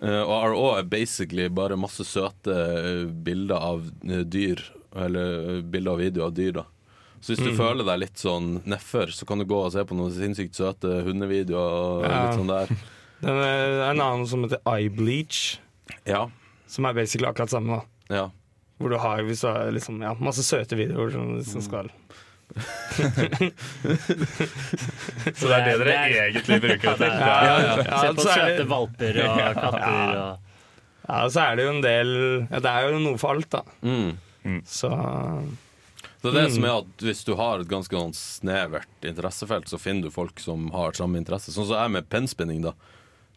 Speaker 3: Eh, og RÅ er basically bare masse søte eh, bilder av eh, dyr, eller eh, bilder og videoer av dyr, da. Så hvis du føler deg litt sånn nedfor, så kan du gå og se på noen sinnssykt søte hundevideoer og
Speaker 1: Ja.
Speaker 3: litt sånn der.
Speaker 1: Den er, det er en annen som heter Eye Bleach,
Speaker 3: Ja.
Speaker 1: som er basically akkurat samme. da
Speaker 3: ja.
Speaker 1: Hvor du har hvis du har, liksom, ja, masse søte videoer som, som skal
Speaker 4: Så det er det dere
Speaker 5: Det
Speaker 4: egentlig bruker det til?
Speaker 1: Ja,
Speaker 5: Se på
Speaker 1: så er
Speaker 5: søte
Speaker 1: det,
Speaker 5: valper og katter og
Speaker 1: ja, så er det jo en del ja, Det er jo noe for alt, da.
Speaker 3: Mm.
Speaker 1: Så
Speaker 3: Så det som er at Hvis du har et ganske sånn snevert interessefelt, så finner du folk som har samme interesse. Sånn som jeg med pennspinning, da.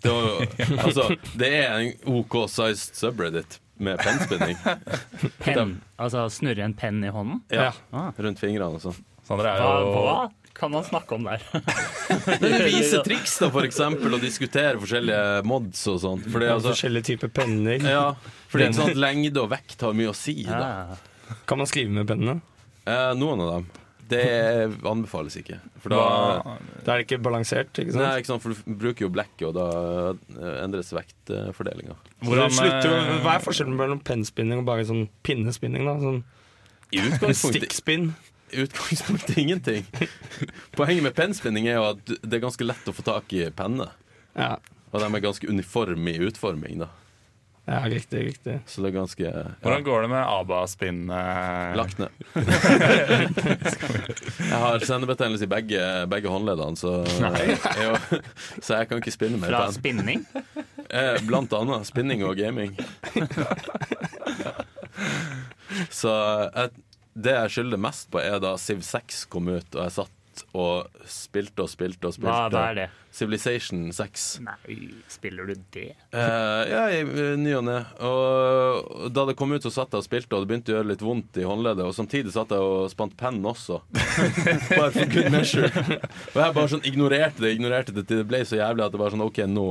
Speaker 3: Det, var, jo- altså, det er en OK-sized subreddit med pennspinning
Speaker 5: penn. Altså snurre en penn i hånden.
Speaker 1: ja.
Speaker 3: ja, rundt fingrene og sånn.
Speaker 4: Sondre er
Speaker 5: Hva,
Speaker 4: jo
Speaker 5: hva kan man snakke om der?
Speaker 3: Vise triks, da, for eksempel, og diskutere forskjellige mods og sånn. Fordi, altså,
Speaker 1: Forskjellige typer penner.
Speaker 3: ja, fordi ikke sant, lengde og vekt har mye å si, da.
Speaker 5: Ja.
Speaker 1: Kan man skrive med pennene?
Speaker 3: Eh, noen av dem. Det anbefales ikke. For da
Speaker 4: Hva-
Speaker 1: Da er det ikke balansert, ikke sant?
Speaker 3: Nei, ikke sant, for du bruker jo blekket, og da eh, endres vektfordelinga.
Speaker 1: Hvordan,
Speaker 4: Hvordan,
Speaker 1: slutter, jo-
Speaker 4: eh,
Speaker 1: hva er forskjellen mellom pennspinning og bare sånn pinnespinning? da? Sånn
Speaker 3: I utgangspunktet,
Speaker 1: Stikkspinn.
Speaker 3: i utgangspunktet ingenting. Poenget med pennspinning er jo at det er ganske lett å få tak i penner.
Speaker 1: Ja.
Speaker 3: Og de er ganske uniforme i utforming, da.
Speaker 1: ja, riktig. riktig
Speaker 3: Så det er ganske ja,
Speaker 4: hvordan går det med ABA-spinn? eh,
Speaker 3: lagt ned. Jeg har sendebetennelse i begge, begge håndleddene, så, jo, så jeg kan ikke spinne mer
Speaker 5: Fra
Speaker 3: penn.
Speaker 5: spinning?
Speaker 3: Eh, Blant annet spinning og gaming. Så jeg, det jeg skylder mest på, er da Siv 6 kom ut, og jeg satt og spilte og spilte og spilte.
Speaker 5: Hva, hva er det?
Speaker 3: Civilization 6.
Speaker 5: Nei, spiller du det?
Speaker 3: Eh, ja, i i ny og ne. Og da det kom ut, så satt jeg og spilte, og det begynte å gjøre litt vondt i håndleddet. Og samtidig satt jeg og spant penn også. Bare for good measure. Og jeg bare sånn ignorerte det, ignorerte det til det ble så jævlig at det var sånn OK, nå,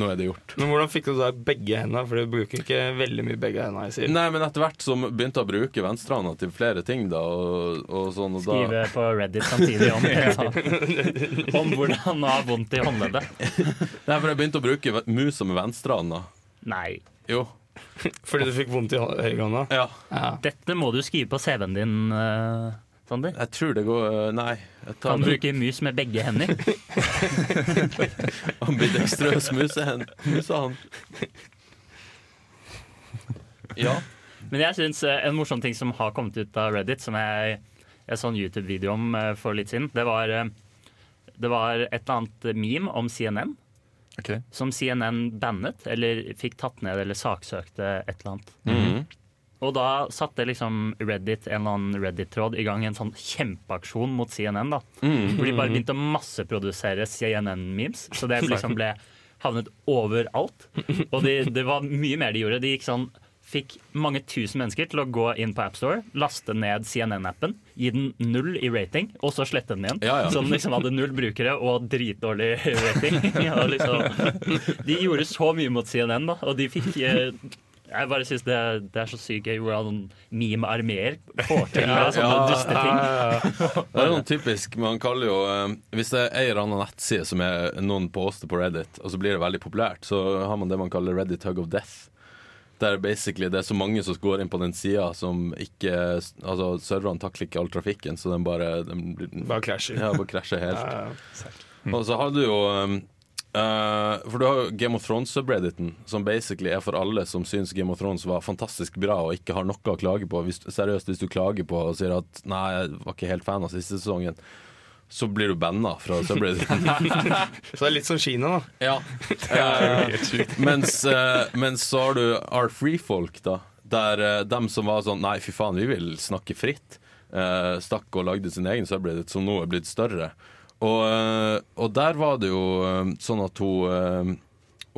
Speaker 3: nå er det gjort.
Speaker 1: Men hvordan fikk du da begge hendene? For du bruker ikke veldig mye begge hendene. Jeg sier.
Speaker 3: Nei, men etter hvert så begynte jeg å bruke venstrehånda til flere ting, da, og, og sånn, og da
Speaker 5: Skrive på Reddit samtidig om, om hvordan han har vondt i håndleddet.
Speaker 3: Nei, for jeg begynte å bruke ve- musa med venstrehånda.
Speaker 5: Nei.
Speaker 3: Jo.
Speaker 1: Fordi du fikk vondt i hå- høyrehånda?
Speaker 3: Ja.
Speaker 1: Ja.
Speaker 5: Dette må du skrive på CV-en din, eh, Sander.
Speaker 3: Jeg tror det går eh, Nei. Jeg tar
Speaker 5: Kan bruke mus med begge hender.
Speaker 3: ambidekstrøs musehend. Musehånd. Ja.
Speaker 5: Men jeg synes eh, en morsom ting som har kommet ut av Reddit, som jeg, jeg så en YouTube-video om eh, for litt siden, det var, eh, det var et eller annet meme om CNN,
Speaker 4: Ok.
Speaker 5: som CNN bannet, eller fikk tatt ned eller saksøkte et eller annet. Og da satte liksom Reddit, en eller annen Reddit-tråd i gang en sånn kjempeaksjon mot CNN. da.
Speaker 3: Mm.
Speaker 5: Hvor de bare begynte å masseprodusere CNN-memes. Så det liksom ble havnet overalt. Og de, det var mye mer de gjorde. De gikk sånn Fikk mange tusen mennesker til å gå inn på AppStore, laste ned CNN-appen, gi den null i rating, og så slette den igjen.
Speaker 3: Ja, ja.
Speaker 5: Så den liksom hadde null brukere og dritdårlig rating. Og liksom, de gjorde så mye mot CNN, da, og de fikk eh, jeg bare synes det, det er så sykt gøy hvordan meme-armeer får til da, sånne
Speaker 3: Ja,
Speaker 5: duste ting.
Speaker 3: Det er noen typisk Man kaller jo eh, Hvis det er en eller annen nettside som er noen poster på Reddit, og så blir det veldig populært, så har man det man kaller Reddit hug of death. Der basically det er så mange som går inn på den sida som ikke Altså, serverne takler ikke all trafikken, så den bare den blir,
Speaker 1: Bare krasjer.
Speaker 3: Ja, bare krasjer helt.
Speaker 1: Ja.
Speaker 3: Og så har du jo um, eh, For du har jo Game of Thrones-subredditen, som basically er for alle som syns Game of Thrones var fantastisk bra og ikke har noe å klage på. Hvis, seriøst, hvis du klager på og sier at 'nei, jeg var ikke helt fan av siste sesongen', så blir du banna fra subredditen.
Speaker 1: Så det er litt som Kina, da.
Speaker 3: ja. mens, eh, mens så har du Our Free-folk, da. Der eh, dem som var sånn 'nei, fy faen, vi vil snakke fritt', eh, stakk og lagde sin egen subreddit, som nå er blitt større. Og, eh, og der var det jo eh, sånn at hun eh,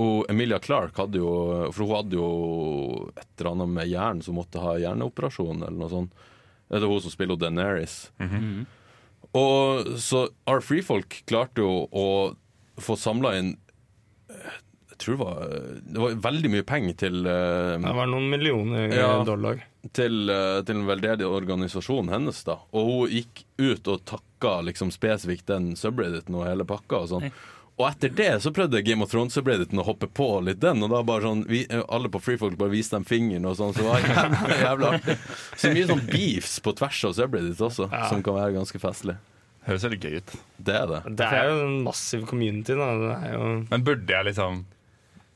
Speaker 3: hun, Emilia Clark hadde jo For hun hadde jo et eller annet med hjernen som måtte ha hjerneoperasjon, eller noe sånt. Det er hun som spiller Daenerys. Og så Our Free-folk klarte jo å få samla inn eh, jeg tror det var, eh, det var veldig mye penger til, eh,
Speaker 1: Det var noen millioner eh,
Speaker 3: Ja.
Speaker 1: dollar.
Speaker 3: til, eh, til en veldedig organisasjon hennes. da Og hun gikk ut og takka liksom, spesifikt den subredditen og hele pakka. Og sånn Og etter det så prøvde Game of Thrones-subredditen å hoppe på litt den, og da bare sånn vi, eh, Alle på Freefolk bare viste dem fingeren og sånn, så det var jævlig, jævlig artig. Så mye sånn beefs på tvers av subreddit også, som kan være ganske festlig.
Speaker 4: Høres veldig gøy ut.
Speaker 3: Det er det.
Speaker 1: Det er jo en massiv community, da. Det er jo
Speaker 4: Men burde jeg liksom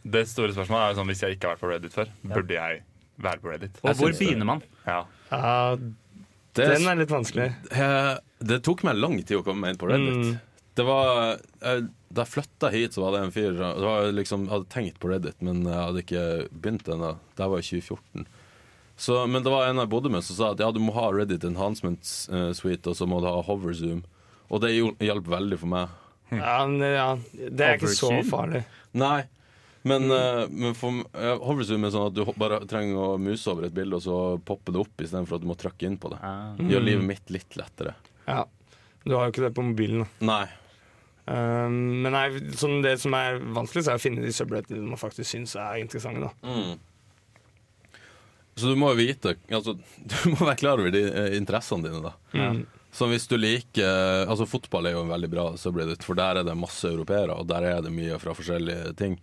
Speaker 4: Det store spørsmålet er jo sånn hvis jeg ikke har vært på Reddit før, burde jeg være på Reddit?
Speaker 5: Og hvor begynner man?
Speaker 4: Ja.
Speaker 1: ja,
Speaker 3: Det er
Speaker 1: Den er litt vanskelig.
Speaker 3: Eh, Det tok meg lang tid å komme meg inn på Reddit. Det var, eh, da jeg flytta hit, så var det en fyr det var liksom, Jeg hadde tenkt på Reddit, men jeg hadde ikke begynt ennå. Det her var i 2014. Så, men det var en jeg bodde med som sa at ja, du må ha Reddit Enhancement eh, Suite, og så må du ha Hoverzoom. Og det hjel- hjalp veldig for meg.
Speaker 1: Ja, men, ja, det er ikke så
Speaker 5: Overkill.
Speaker 1: farlig.
Speaker 3: Nei, men, eh, men for, eh, Hoverzoom er sånn at du ho- bare trenger å muse over et bilde, og så popper det opp istedenfor at du må trykke inn på det.
Speaker 5: Ah.
Speaker 3: Gjør livet mitt litt lettere.
Speaker 1: Ja. Du har jo ikke det på mobilen. da.
Speaker 3: Nei.
Speaker 1: Eh, men nei, som det som er vanskeligst, er å finne de subredditene man faktisk syns er interessante. Da.
Speaker 3: Så du må jo vite altså, Du må være klar over de eh, interessene dine, da.
Speaker 4: Mm.
Speaker 3: Så hvis du liker Altså Fotball er jo en veldig bra subreddit, for der er det masse europeere, og der er det mye fra forskjellige ting.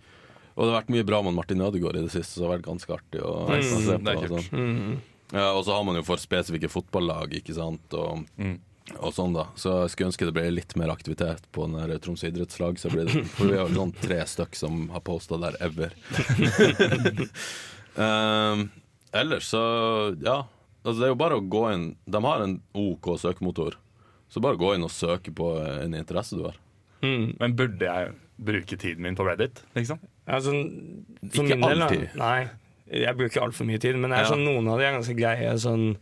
Speaker 3: Og det har vært mye bra med Martin Ødegaard i det siste, så det har vært ganske artig å å se
Speaker 4: Mm. Det er
Speaker 3: på. Og,
Speaker 4: kult.
Speaker 3: sånn. ja, og så har man jo for spesifikke fotballag, ikke sant, og, og sånn, da. Så jeg skulle ønske det ble litt mer aktivitet på den her Tromsø idrettslag, så blir det For vi har jo sånn tre stykk som har posta der ever. Ehm, ellers så, ja. Altså, det er jo bare å gå inn De har en OK søkemotor. Så bare gå inn og søke på en interesse du har.
Speaker 4: Men burde jeg bruke tiden min på Reddit, liksom?
Speaker 1: Ja, sånn, for
Speaker 3: Ikke
Speaker 1: min del, da.
Speaker 3: alltid.
Speaker 1: Nei, jeg bruker altfor mye tid. Men det er
Speaker 3: Ja.
Speaker 1: sånn, noen av de er ganske greie. Sånn,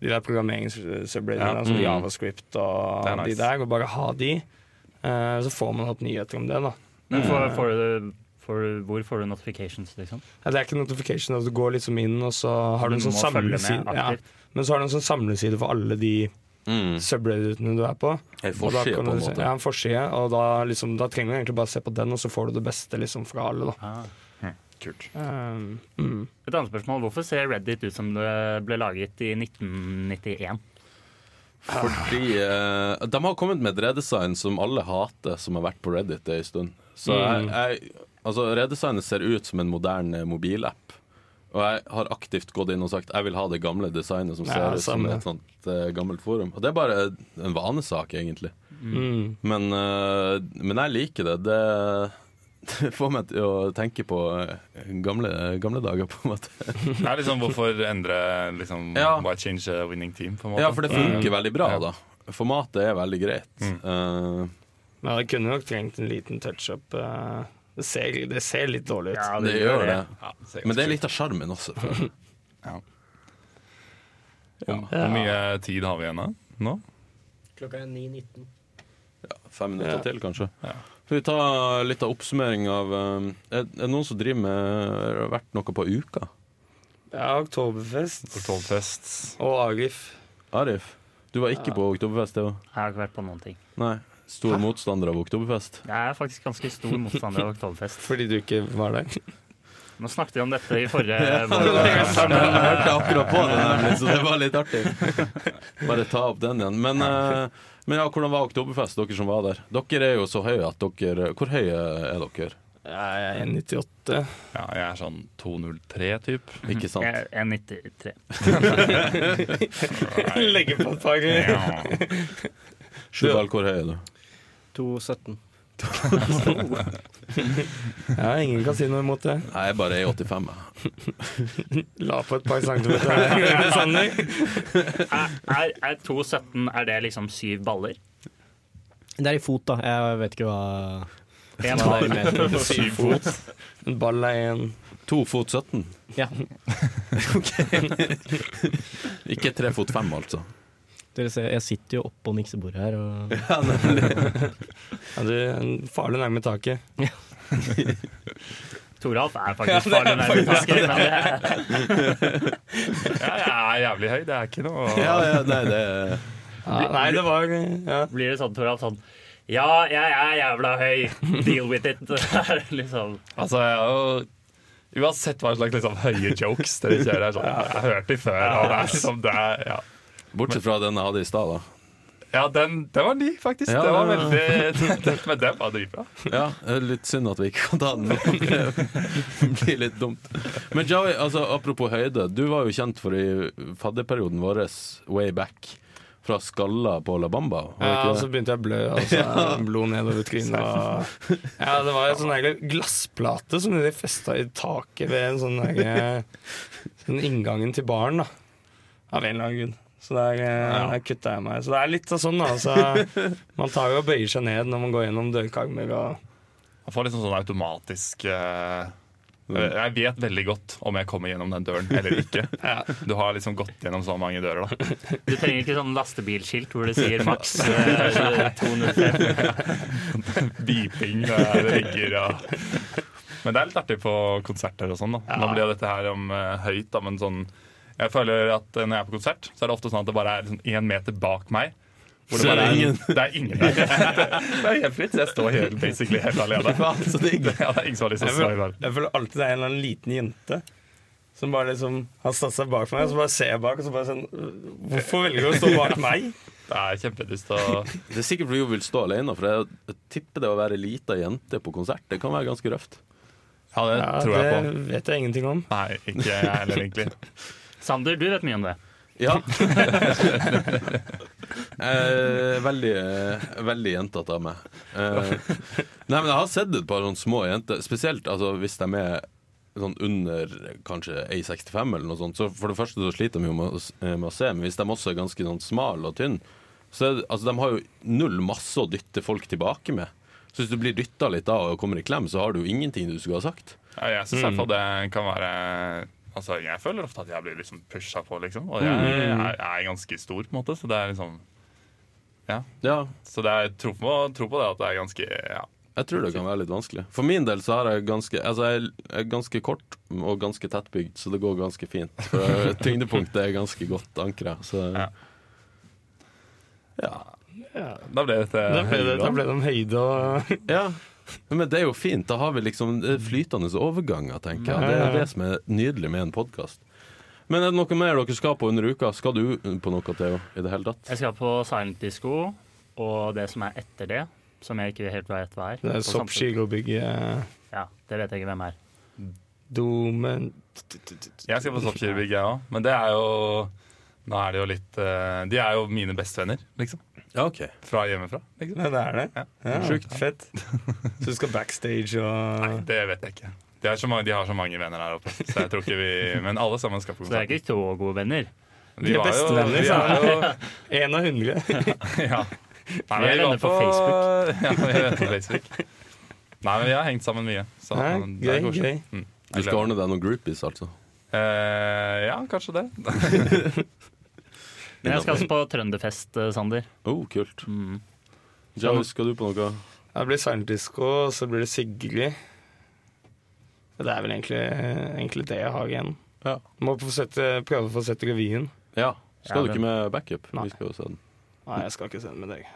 Speaker 1: de der programmerings-subredditene,
Speaker 4: Ja.
Speaker 1: som sånn JavaScript og
Speaker 4: Det er nice.
Speaker 1: de der. Og bare ha de. Eh, så får man opp nyheter om det. da
Speaker 5: Men får, får du, får du, hvor får du notifications, liksom?
Speaker 1: Ja, Det er ikke notification, altså, du går liksom inn, og så har du en
Speaker 5: Du må
Speaker 1: sånn
Speaker 5: følge med
Speaker 1: samleside. Ja,
Speaker 5: aktivt.
Speaker 1: men så har du en sånn samleside for alle de
Speaker 3: Mm.
Speaker 1: subredditene du er på.
Speaker 3: Ei
Speaker 1: Og da
Speaker 3: forside,
Speaker 1: kan
Speaker 3: på en
Speaker 1: du se-
Speaker 3: måte.
Speaker 1: Ja, en forside, og da, liksom, da trenger du egentlig bare se på den, og så får du det beste liksom, fra alle. Da.
Speaker 3: Ah.
Speaker 4: Kult.
Speaker 1: Um, mm.
Speaker 5: Et annet spørsmål. Hvorfor ser Reddit ut som det ble laget i 1991?
Speaker 3: Fordi eh, De har kommet med et redesign som alle hater, som har vært på Reddit en stund. Så
Speaker 1: Mm.
Speaker 3: jeg, jeg, altså, redesignet ser ut som en moderne mobilapp. Og jeg har aktivt gått inn og sagt jeg vil ha det gamle designet som ser
Speaker 1: Ja,
Speaker 3: ut som
Speaker 1: samme.
Speaker 3: et sånt eh, gammelt forum. Og det er bare en vanesak, egentlig.
Speaker 1: Mm.
Speaker 3: Men, eh, men jeg liker det. det. Det får meg til å tenke på eh, gamle, gamle dager, på en måte.
Speaker 4: Det er liksom hvorfor endre liksom,
Speaker 3: Ja.
Speaker 4: Why change a winning team, på en måte?
Speaker 3: Ja, for det funker veldig bra, da. Formatet er veldig greit. Eh,
Speaker 1: Men det kunne nok trengt en liten touch-up. eh. det, ser, det ser litt dårlig ut.
Speaker 3: det, gjør det.
Speaker 4: Ja, ser
Speaker 3: Men det er
Speaker 4: ganske
Speaker 3: litt av sjarmen også. føler jeg.
Speaker 4: kult. Hvor mye tid har vi igjen da? Nå?
Speaker 6: Klokka er 9.19.
Speaker 3: Fem minutter til, kanskje.
Speaker 4: Ja.
Speaker 3: Skal vi ta litt av oppsummering av um, Er er det noen som driver med Har det vært noe på uka?
Speaker 1: Ja, Oktoberfest
Speaker 4: Oktoberfest.
Speaker 1: og Arif.
Speaker 3: Arif, du var ikke på Oktoberfest, det òg?
Speaker 5: Jeg har ikke vært på noen ting.
Speaker 3: Nei. Stor motstander av Oktoberfest.
Speaker 5: Jeg er faktisk ganske stor motstander av Oktoberfest.
Speaker 1: Fordi du ikke var der.
Speaker 5: Nå snakket vi om dette i
Speaker 3: Eh,
Speaker 5: forrige vår.
Speaker 3: Jeg hørte akkurat på det, nemlig, så det var litt artig. Bare ta opp den igjen. Men, eh, men ja, hvordan var Oktoberfest, dere som var der? Dere er jo så høye at dere Hvor høye er dere?
Speaker 1: Ja, jeg er 98.
Speaker 4: Ja, jeg er sånn 203-typ.
Speaker 3: Ikke sant?
Speaker 5: Jeg er 93.
Speaker 1: Legge på et par.
Speaker 3: Sjudal, hvor høy er du?
Speaker 6: 2.17.
Speaker 1: Ja, ingen kan si noe imot det.
Speaker 3: Nei, jeg bare er 85, jeg.
Speaker 1: La på et par centimeter. her, Sander.
Speaker 5: Er, er, er 2,17 Er det liksom syv baller?
Speaker 6: Det er i fot, da. Jeg vet ikke hva
Speaker 5: En
Speaker 6: hva det
Speaker 5: ball.
Speaker 6: er med.
Speaker 4: Syv fot.
Speaker 1: En ball er en
Speaker 3: To fot 17.
Speaker 6: Ja.
Speaker 3: Ikke tre fot fem, altså.
Speaker 6: Dere ser, jeg sitter jo oppå miksebordet her, og
Speaker 1: ja, du, en farlig nærme taket.
Speaker 5: Toralf er faktisk farlig nærme tasker. Men det,
Speaker 4: Ja, jeg er jævlig høy. Det er ikke noe
Speaker 3: Ja, ja, nei, det er
Speaker 1: Ja, nei, det var ja.
Speaker 5: blir det sånn, Toralf, sånn Ja, jeg er jævla høy. Deal with it. Det er liksom
Speaker 4: Altså, jeg er jo Uansett hva slags liksom, høye jokes dere kjører, er sånn Jeg har hørt de før, og det er liksom det er, ja.
Speaker 3: Bortsett fra den jeg hadde i stad, da.
Speaker 4: ja, den, den var ny, faktisk.
Speaker 3: Ja,
Speaker 4: det var
Speaker 3: ja, ja.
Speaker 4: veldig den, Men den var dritbra.
Speaker 3: Ja, det er litt synd at vi ikke kan ta den nå. Det blir litt dumt. Men Joey, altså, apropos høyde. Du var jo kjent for i fadderperioden vår way back fra skalla på La Bamba. var det
Speaker 1: Ja,
Speaker 3: ikke
Speaker 1: og så
Speaker 3: det?
Speaker 1: begynte jeg å blø, og så blod nedover trynet. Og... Ja, det var en sånn her glassplate som de festa i taket ved en sånn her, sånn inngangen til baren, da. Av en eller annen grunn. Så der, eh, der kutta jeg meg. Så det er litt av sånn, da. Så man tar jo og bøyer seg ned når man går gjennom dørkarmer og
Speaker 4: Man får liksom sånn automatisk eh, Jeg vet veldig godt om jeg kommer gjennom den døren eller ikke. Du har liksom gått gjennom så mange dører, da.
Speaker 5: Du trenger ikke sånn lastebilskilt hvor det sier maks eh, 205.
Speaker 4: Beeping, eh, rigger og Men det er litt artig på konserter og sånn. da Nå blir jo dette her om eh, høyt, da, men sånn Jeg føler at eh, når jeg er på konsert, så er det ofte sånn at det bare er liksom én meter bak meg. Hvor det,
Speaker 3: Så er
Speaker 4: bare
Speaker 3: det
Speaker 4: er,
Speaker 3: ingen.
Speaker 4: det er ingen der. Det er helt fritt. så Jeg står helt, basically helt alene.
Speaker 3: så digg.
Speaker 4: Ja, det er ingen som har lyst til å
Speaker 1: Jeg
Speaker 4: stå i
Speaker 1: føler,
Speaker 4: verden.
Speaker 1: jeg føler alltid det er en eller annen liten jente som bare liksom har satt seg bak meg, og så bare ser jeg bak, og så bare sånn Hvorfor velger du å stå bak meg?
Speaker 4: Det er kjempedust å
Speaker 3: Det er sikkert fordi hun vil stå alene, for jeg- jeg tipper det å være lita jente på konsert, det kan være ganske røft.
Speaker 4: Ja, det tror jeg på.
Speaker 1: Det vet jeg ingenting om.
Speaker 4: Nei, ikke jeg heller, egentlig.
Speaker 5: Sander, du vet mye om det.
Speaker 3: Ja. eh, veldig eh, veldig jentete av meg. Eh, nei, men jeg har sett et par sånne små jenter, spesielt altså, hvis de er sånn under kanskje A65 eller noe sånt. Så for det første så sliter de jo med, å s- eh, med å se, men hvis de også er ganske sånn smal og tynn, så er det, altså, de har jo null masse å dytte folk tilbake med. Så hvis du blir dytta litt da og kommer i klem, så har du jo ingenting du skulle ha sagt.
Speaker 4: Ja, jeg syns i hvert fall
Speaker 1: Mm.
Speaker 4: det kan være Altså, Jeg føler ofte at
Speaker 1: Mm.
Speaker 4: jeg blir liksom pusha på, liksom. Og jeg, jeg, er ganske stor, på en måte, så det er liksom Ja.
Speaker 3: Ja,
Speaker 4: Så det er, tro, på, tro på det at det er ganske ja.
Speaker 3: jeg tror det kan være litt vanskelig. For min del så har jeg ganske Altså jeg er ganske kort og ganske tettbygd, så det går ganske fint. For tyngdepunktet er ganske godt ankra. Så
Speaker 4: Ja.
Speaker 3: ja.
Speaker 4: Da ble dette
Speaker 1: Da ble det, da ble det en høyde og
Speaker 3: Ja, men det er jo fint. Da har vi liksom eh, flytende overganger, tenker jeg. Det er jo det som er nydelig med en podkast. Men er det noe mer dere skal på under uka? Skal du på noe, Theo? I det hele tatt?
Speaker 5: Jeg skal på Silent Disco, og det som er etter det, som jeg ikke helt vet hva er.
Speaker 1: Det
Speaker 5: på
Speaker 1: er Sopp
Speaker 5: samtidig-
Speaker 1: Kilobygget,
Speaker 5: Ja, det vet jeg ikke hvem er.
Speaker 1: Domen
Speaker 4: Jeg skal på soppkirurg, jeg òg. Men det er jo Nå er det jo litt eh, De er jo mine bestevenner, liksom.
Speaker 3: Ja, OK.
Speaker 4: Fra hjemmefra. Liksom.
Speaker 1: Ja, det er det.
Speaker 4: Ja.
Speaker 1: Ja,
Speaker 3: Sjukt.
Speaker 1: Fett. Så du skal backstage
Speaker 4: Nei,
Speaker 1: og
Speaker 4: det vet jeg ikke. De, er så mange, de har så mange venner her oppe. Så jeg tror ikke vi Men alle sammen skal på
Speaker 5: Så det er
Speaker 4: konsert.
Speaker 5: ikke så gode venner.
Speaker 4: Vi
Speaker 1: De er
Speaker 4: var jo-
Speaker 1: bestevenner,
Speaker 4: vi
Speaker 1: sa
Speaker 4: er jo
Speaker 1: Én av hundre.
Speaker 4: ja. Nei,
Speaker 5: Vi er venner på Facebook.
Speaker 4: Ja, vi er venner på Facebook. Nei, men vi har hengt sammen mye. Så
Speaker 1: Nei,
Speaker 4: det er
Speaker 1: gøy,
Speaker 4: koselig.
Speaker 1: gøy.
Speaker 4: Mm.
Speaker 3: Du skal ordne deg noen groupies, altså?
Speaker 4: Eh, ja, kanskje det.
Speaker 5: Men jeg skal også på Trønderfest, eh, Sander.
Speaker 3: Oh, kult.
Speaker 5: Mm.
Speaker 3: Jarvis, skal du på noe?
Speaker 1: Det blir silent disco, og så blir det Sigrid. Det er vel egentlig, egentlig det jeg har igjen.
Speaker 3: Ja.
Speaker 1: Må få sette, prøve å få sett revyen.
Speaker 3: Ja.
Speaker 5: Ja,
Speaker 3: Skal du
Speaker 5: den-
Speaker 3: ikke med backup?
Speaker 1: Nei.
Speaker 3: Vi skal jo se den.
Speaker 1: Nei, jeg skal ikke se den med deg.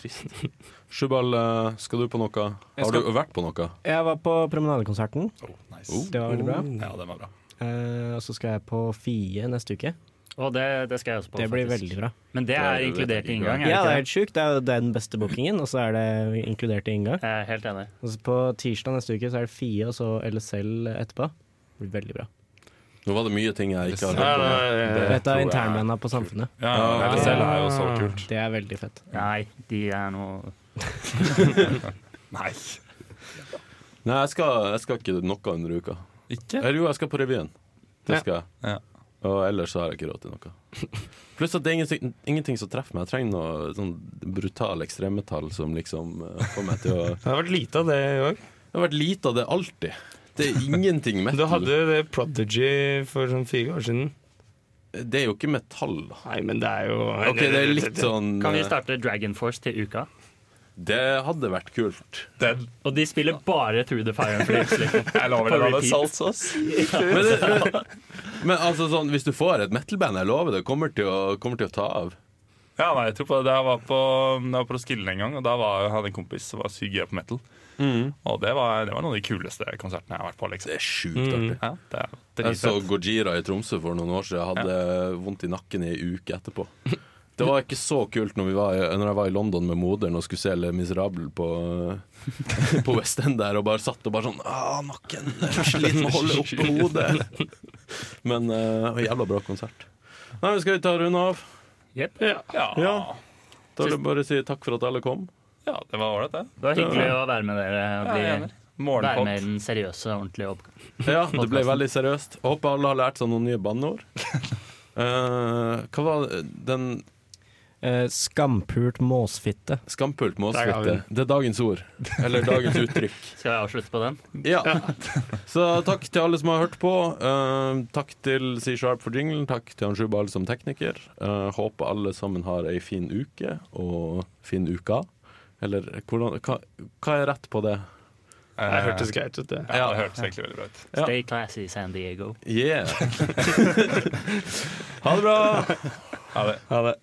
Speaker 3: Trist. Sjubal, eh, skal du på noe? Har
Speaker 6: skal-
Speaker 3: du vært på noe?
Speaker 6: Jeg var på Promenadekonserten.
Speaker 4: Oh, nice.
Speaker 6: Det var veldig bra.
Speaker 4: Ja, den var bra.
Speaker 6: Eh, og så skal jeg på Fie neste uke.
Speaker 5: Og det, det skal jeg også på.
Speaker 6: Det blir
Speaker 5: faktisk.
Speaker 6: veldig bra.
Speaker 5: Men det er
Speaker 3: Det vet jeg
Speaker 5: inkludert
Speaker 3: ikke.
Speaker 5: i inngang, er
Speaker 6: Ja, det
Speaker 5: det
Speaker 6: er
Speaker 5: ikke det?
Speaker 6: helt sjukt. Det er jo den beste bookingen, og så er det inkludert i inngang.
Speaker 5: Jeg er helt enig.
Speaker 6: Og så på tirsdag neste uke så er det Fie og så LSL etterpå. Det blir veldig bra.
Speaker 3: Nå var det mye ting jeg ikke har
Speaker 1: Nei,
Speaker 3: hørt om.
Speaker 1: nei, nei.
Speaker 6: Dette
Speaker 4: tror
Speaker 6: er
Speaker 4: jeg-
Speaker 6: internbanda på Samfunnet.
Speaker 4: Ja, ja, LSL er jo så kult.
Speaker 6: Det er veldig fett.
Speaker 5: Nei, de er noe
Speaker 4: Nei,
Speaker 3: Nei, jeg skal, jeg skal ikke noe under uka.
Speaker 4: ikke?
Speaker 3: Eller jo, jeg skal på revyen.
Speaker 1: Ja.
Speaker 3: Det skal jeg.
Speaker 4: Ja.
Speaker 3: Og ellers så har jeg ikke råd til noe. Pluss at det er ingenting, ingenting som treffer meg. Jeg trenger noe sånn brutal ekstremetall som liksom eh, får meg til å
Speaker 1: Det har vært lite av det i år.
Speaker 3: Det har vært lite av det alltid. Det er ingenting
Speaker 1: Du
Speaker 3: metal.
Speaker 1: hadde jo det Prodigy for sånn fire år siden.
Speaker 3: Det er jo ikke metall, da.
Speaker 1: Nei, men det er jo
Speaker 3: OK, det er litt sånn
Speaker 5: Kan vi starte Dragon Force til uka?
Speaker 3: Det hadde vært kult.
Speaker 4: Den,
Speaker 5: Og de spiller bare Through the Fire and Flames. Liksom.
Speaker 4: jeg lover
Speaker 5: På
Speaker 4: dere, det er
Speaker 5: repeat.
Speaker 4: saltsås.
Speaker 3: Men, det, men, men altså sånn, hvis du får et metal-band, jeg lover det, kommer til å, kommer til å ta av.
Speaker 4: Ja, nei, jeg tror på det. Jeg var på, jeg var på Roskilde en gang, og da var, jeg hadde en kompis som var sykt gøy på metal. Og det var, det var noen av de kuleste konsertene jeg har vært på. liksom.
Speaker 3: Det er sjukt artig.
Speaker 4: Ja, det er
Speaker 3: Jeg så
Speaker 4: dritfett.
Speaker 3: Gojira i Tromsø for noen år siden. Jeg hadde vondt i nakken i ei uke etterpå. Det var ikke så kult når, vi var, i- når jeg var i London med moderen og skulle se Le Miserable på, på West End der, og bare satt og bare sånn Å, nakken! Jeg er sliten med å holde oppe hodet! Men eh, en jævla bra konsert. Nei, men Skal vi ta runde av?
Speaker 5: Jep.
Speaker 4: Ja, ja.
Speaker 3: Ja. Da vil jeg bare si takk for at alle kom.
Speaker 4: det var ålreit, det.
Speaker 5: Det var hyggelig å være med dere. Og
Speaker 4: Jeg er
Speaker 5: bli,
Speaker 4: enig.
Speaker 5: være med i
Speaker 4: Morgenpod.
Speaker 5: den seriøse, ordentlige oppgaven.
Speaker 3: Ja, Det ble veldig seriøst. Jeg Håper alle har lært seg noen nye banneord. Eh, hva var den
Speaker 6: Eh, skampult måsfitte.
Speaker 3: Skampult må
Speaker 1: Der har vi
Speaker 3: slutte. Det er dagens ord. Eller dagens uttrykk.
Speaker 5: Skal vi avslutte på den?
Speaker 3: Ja. Så takk til alle som har hørt på. Eh, takk til C-Sharp for jinglen. Takk til han Sjubal som tekniker. Eh, håper alle sammen har ei fin uke og fin uka. Eller hvordan, hva, hva er rett på det?
Speaker 4: Eh,
Speaker 1: Det hørtes
Speaker 3: eh,
Speaker 1: greit ut, det.
Speaker 4: Ja, det hørtes egentlig veldig bra ut.
Speaker 3: Ja.
Speaker 5: Stay classy, San Diego.
Speaker 3: Yeah! ha det bra!
Speaker 4: Ha det.
Speaker 1: Ha det.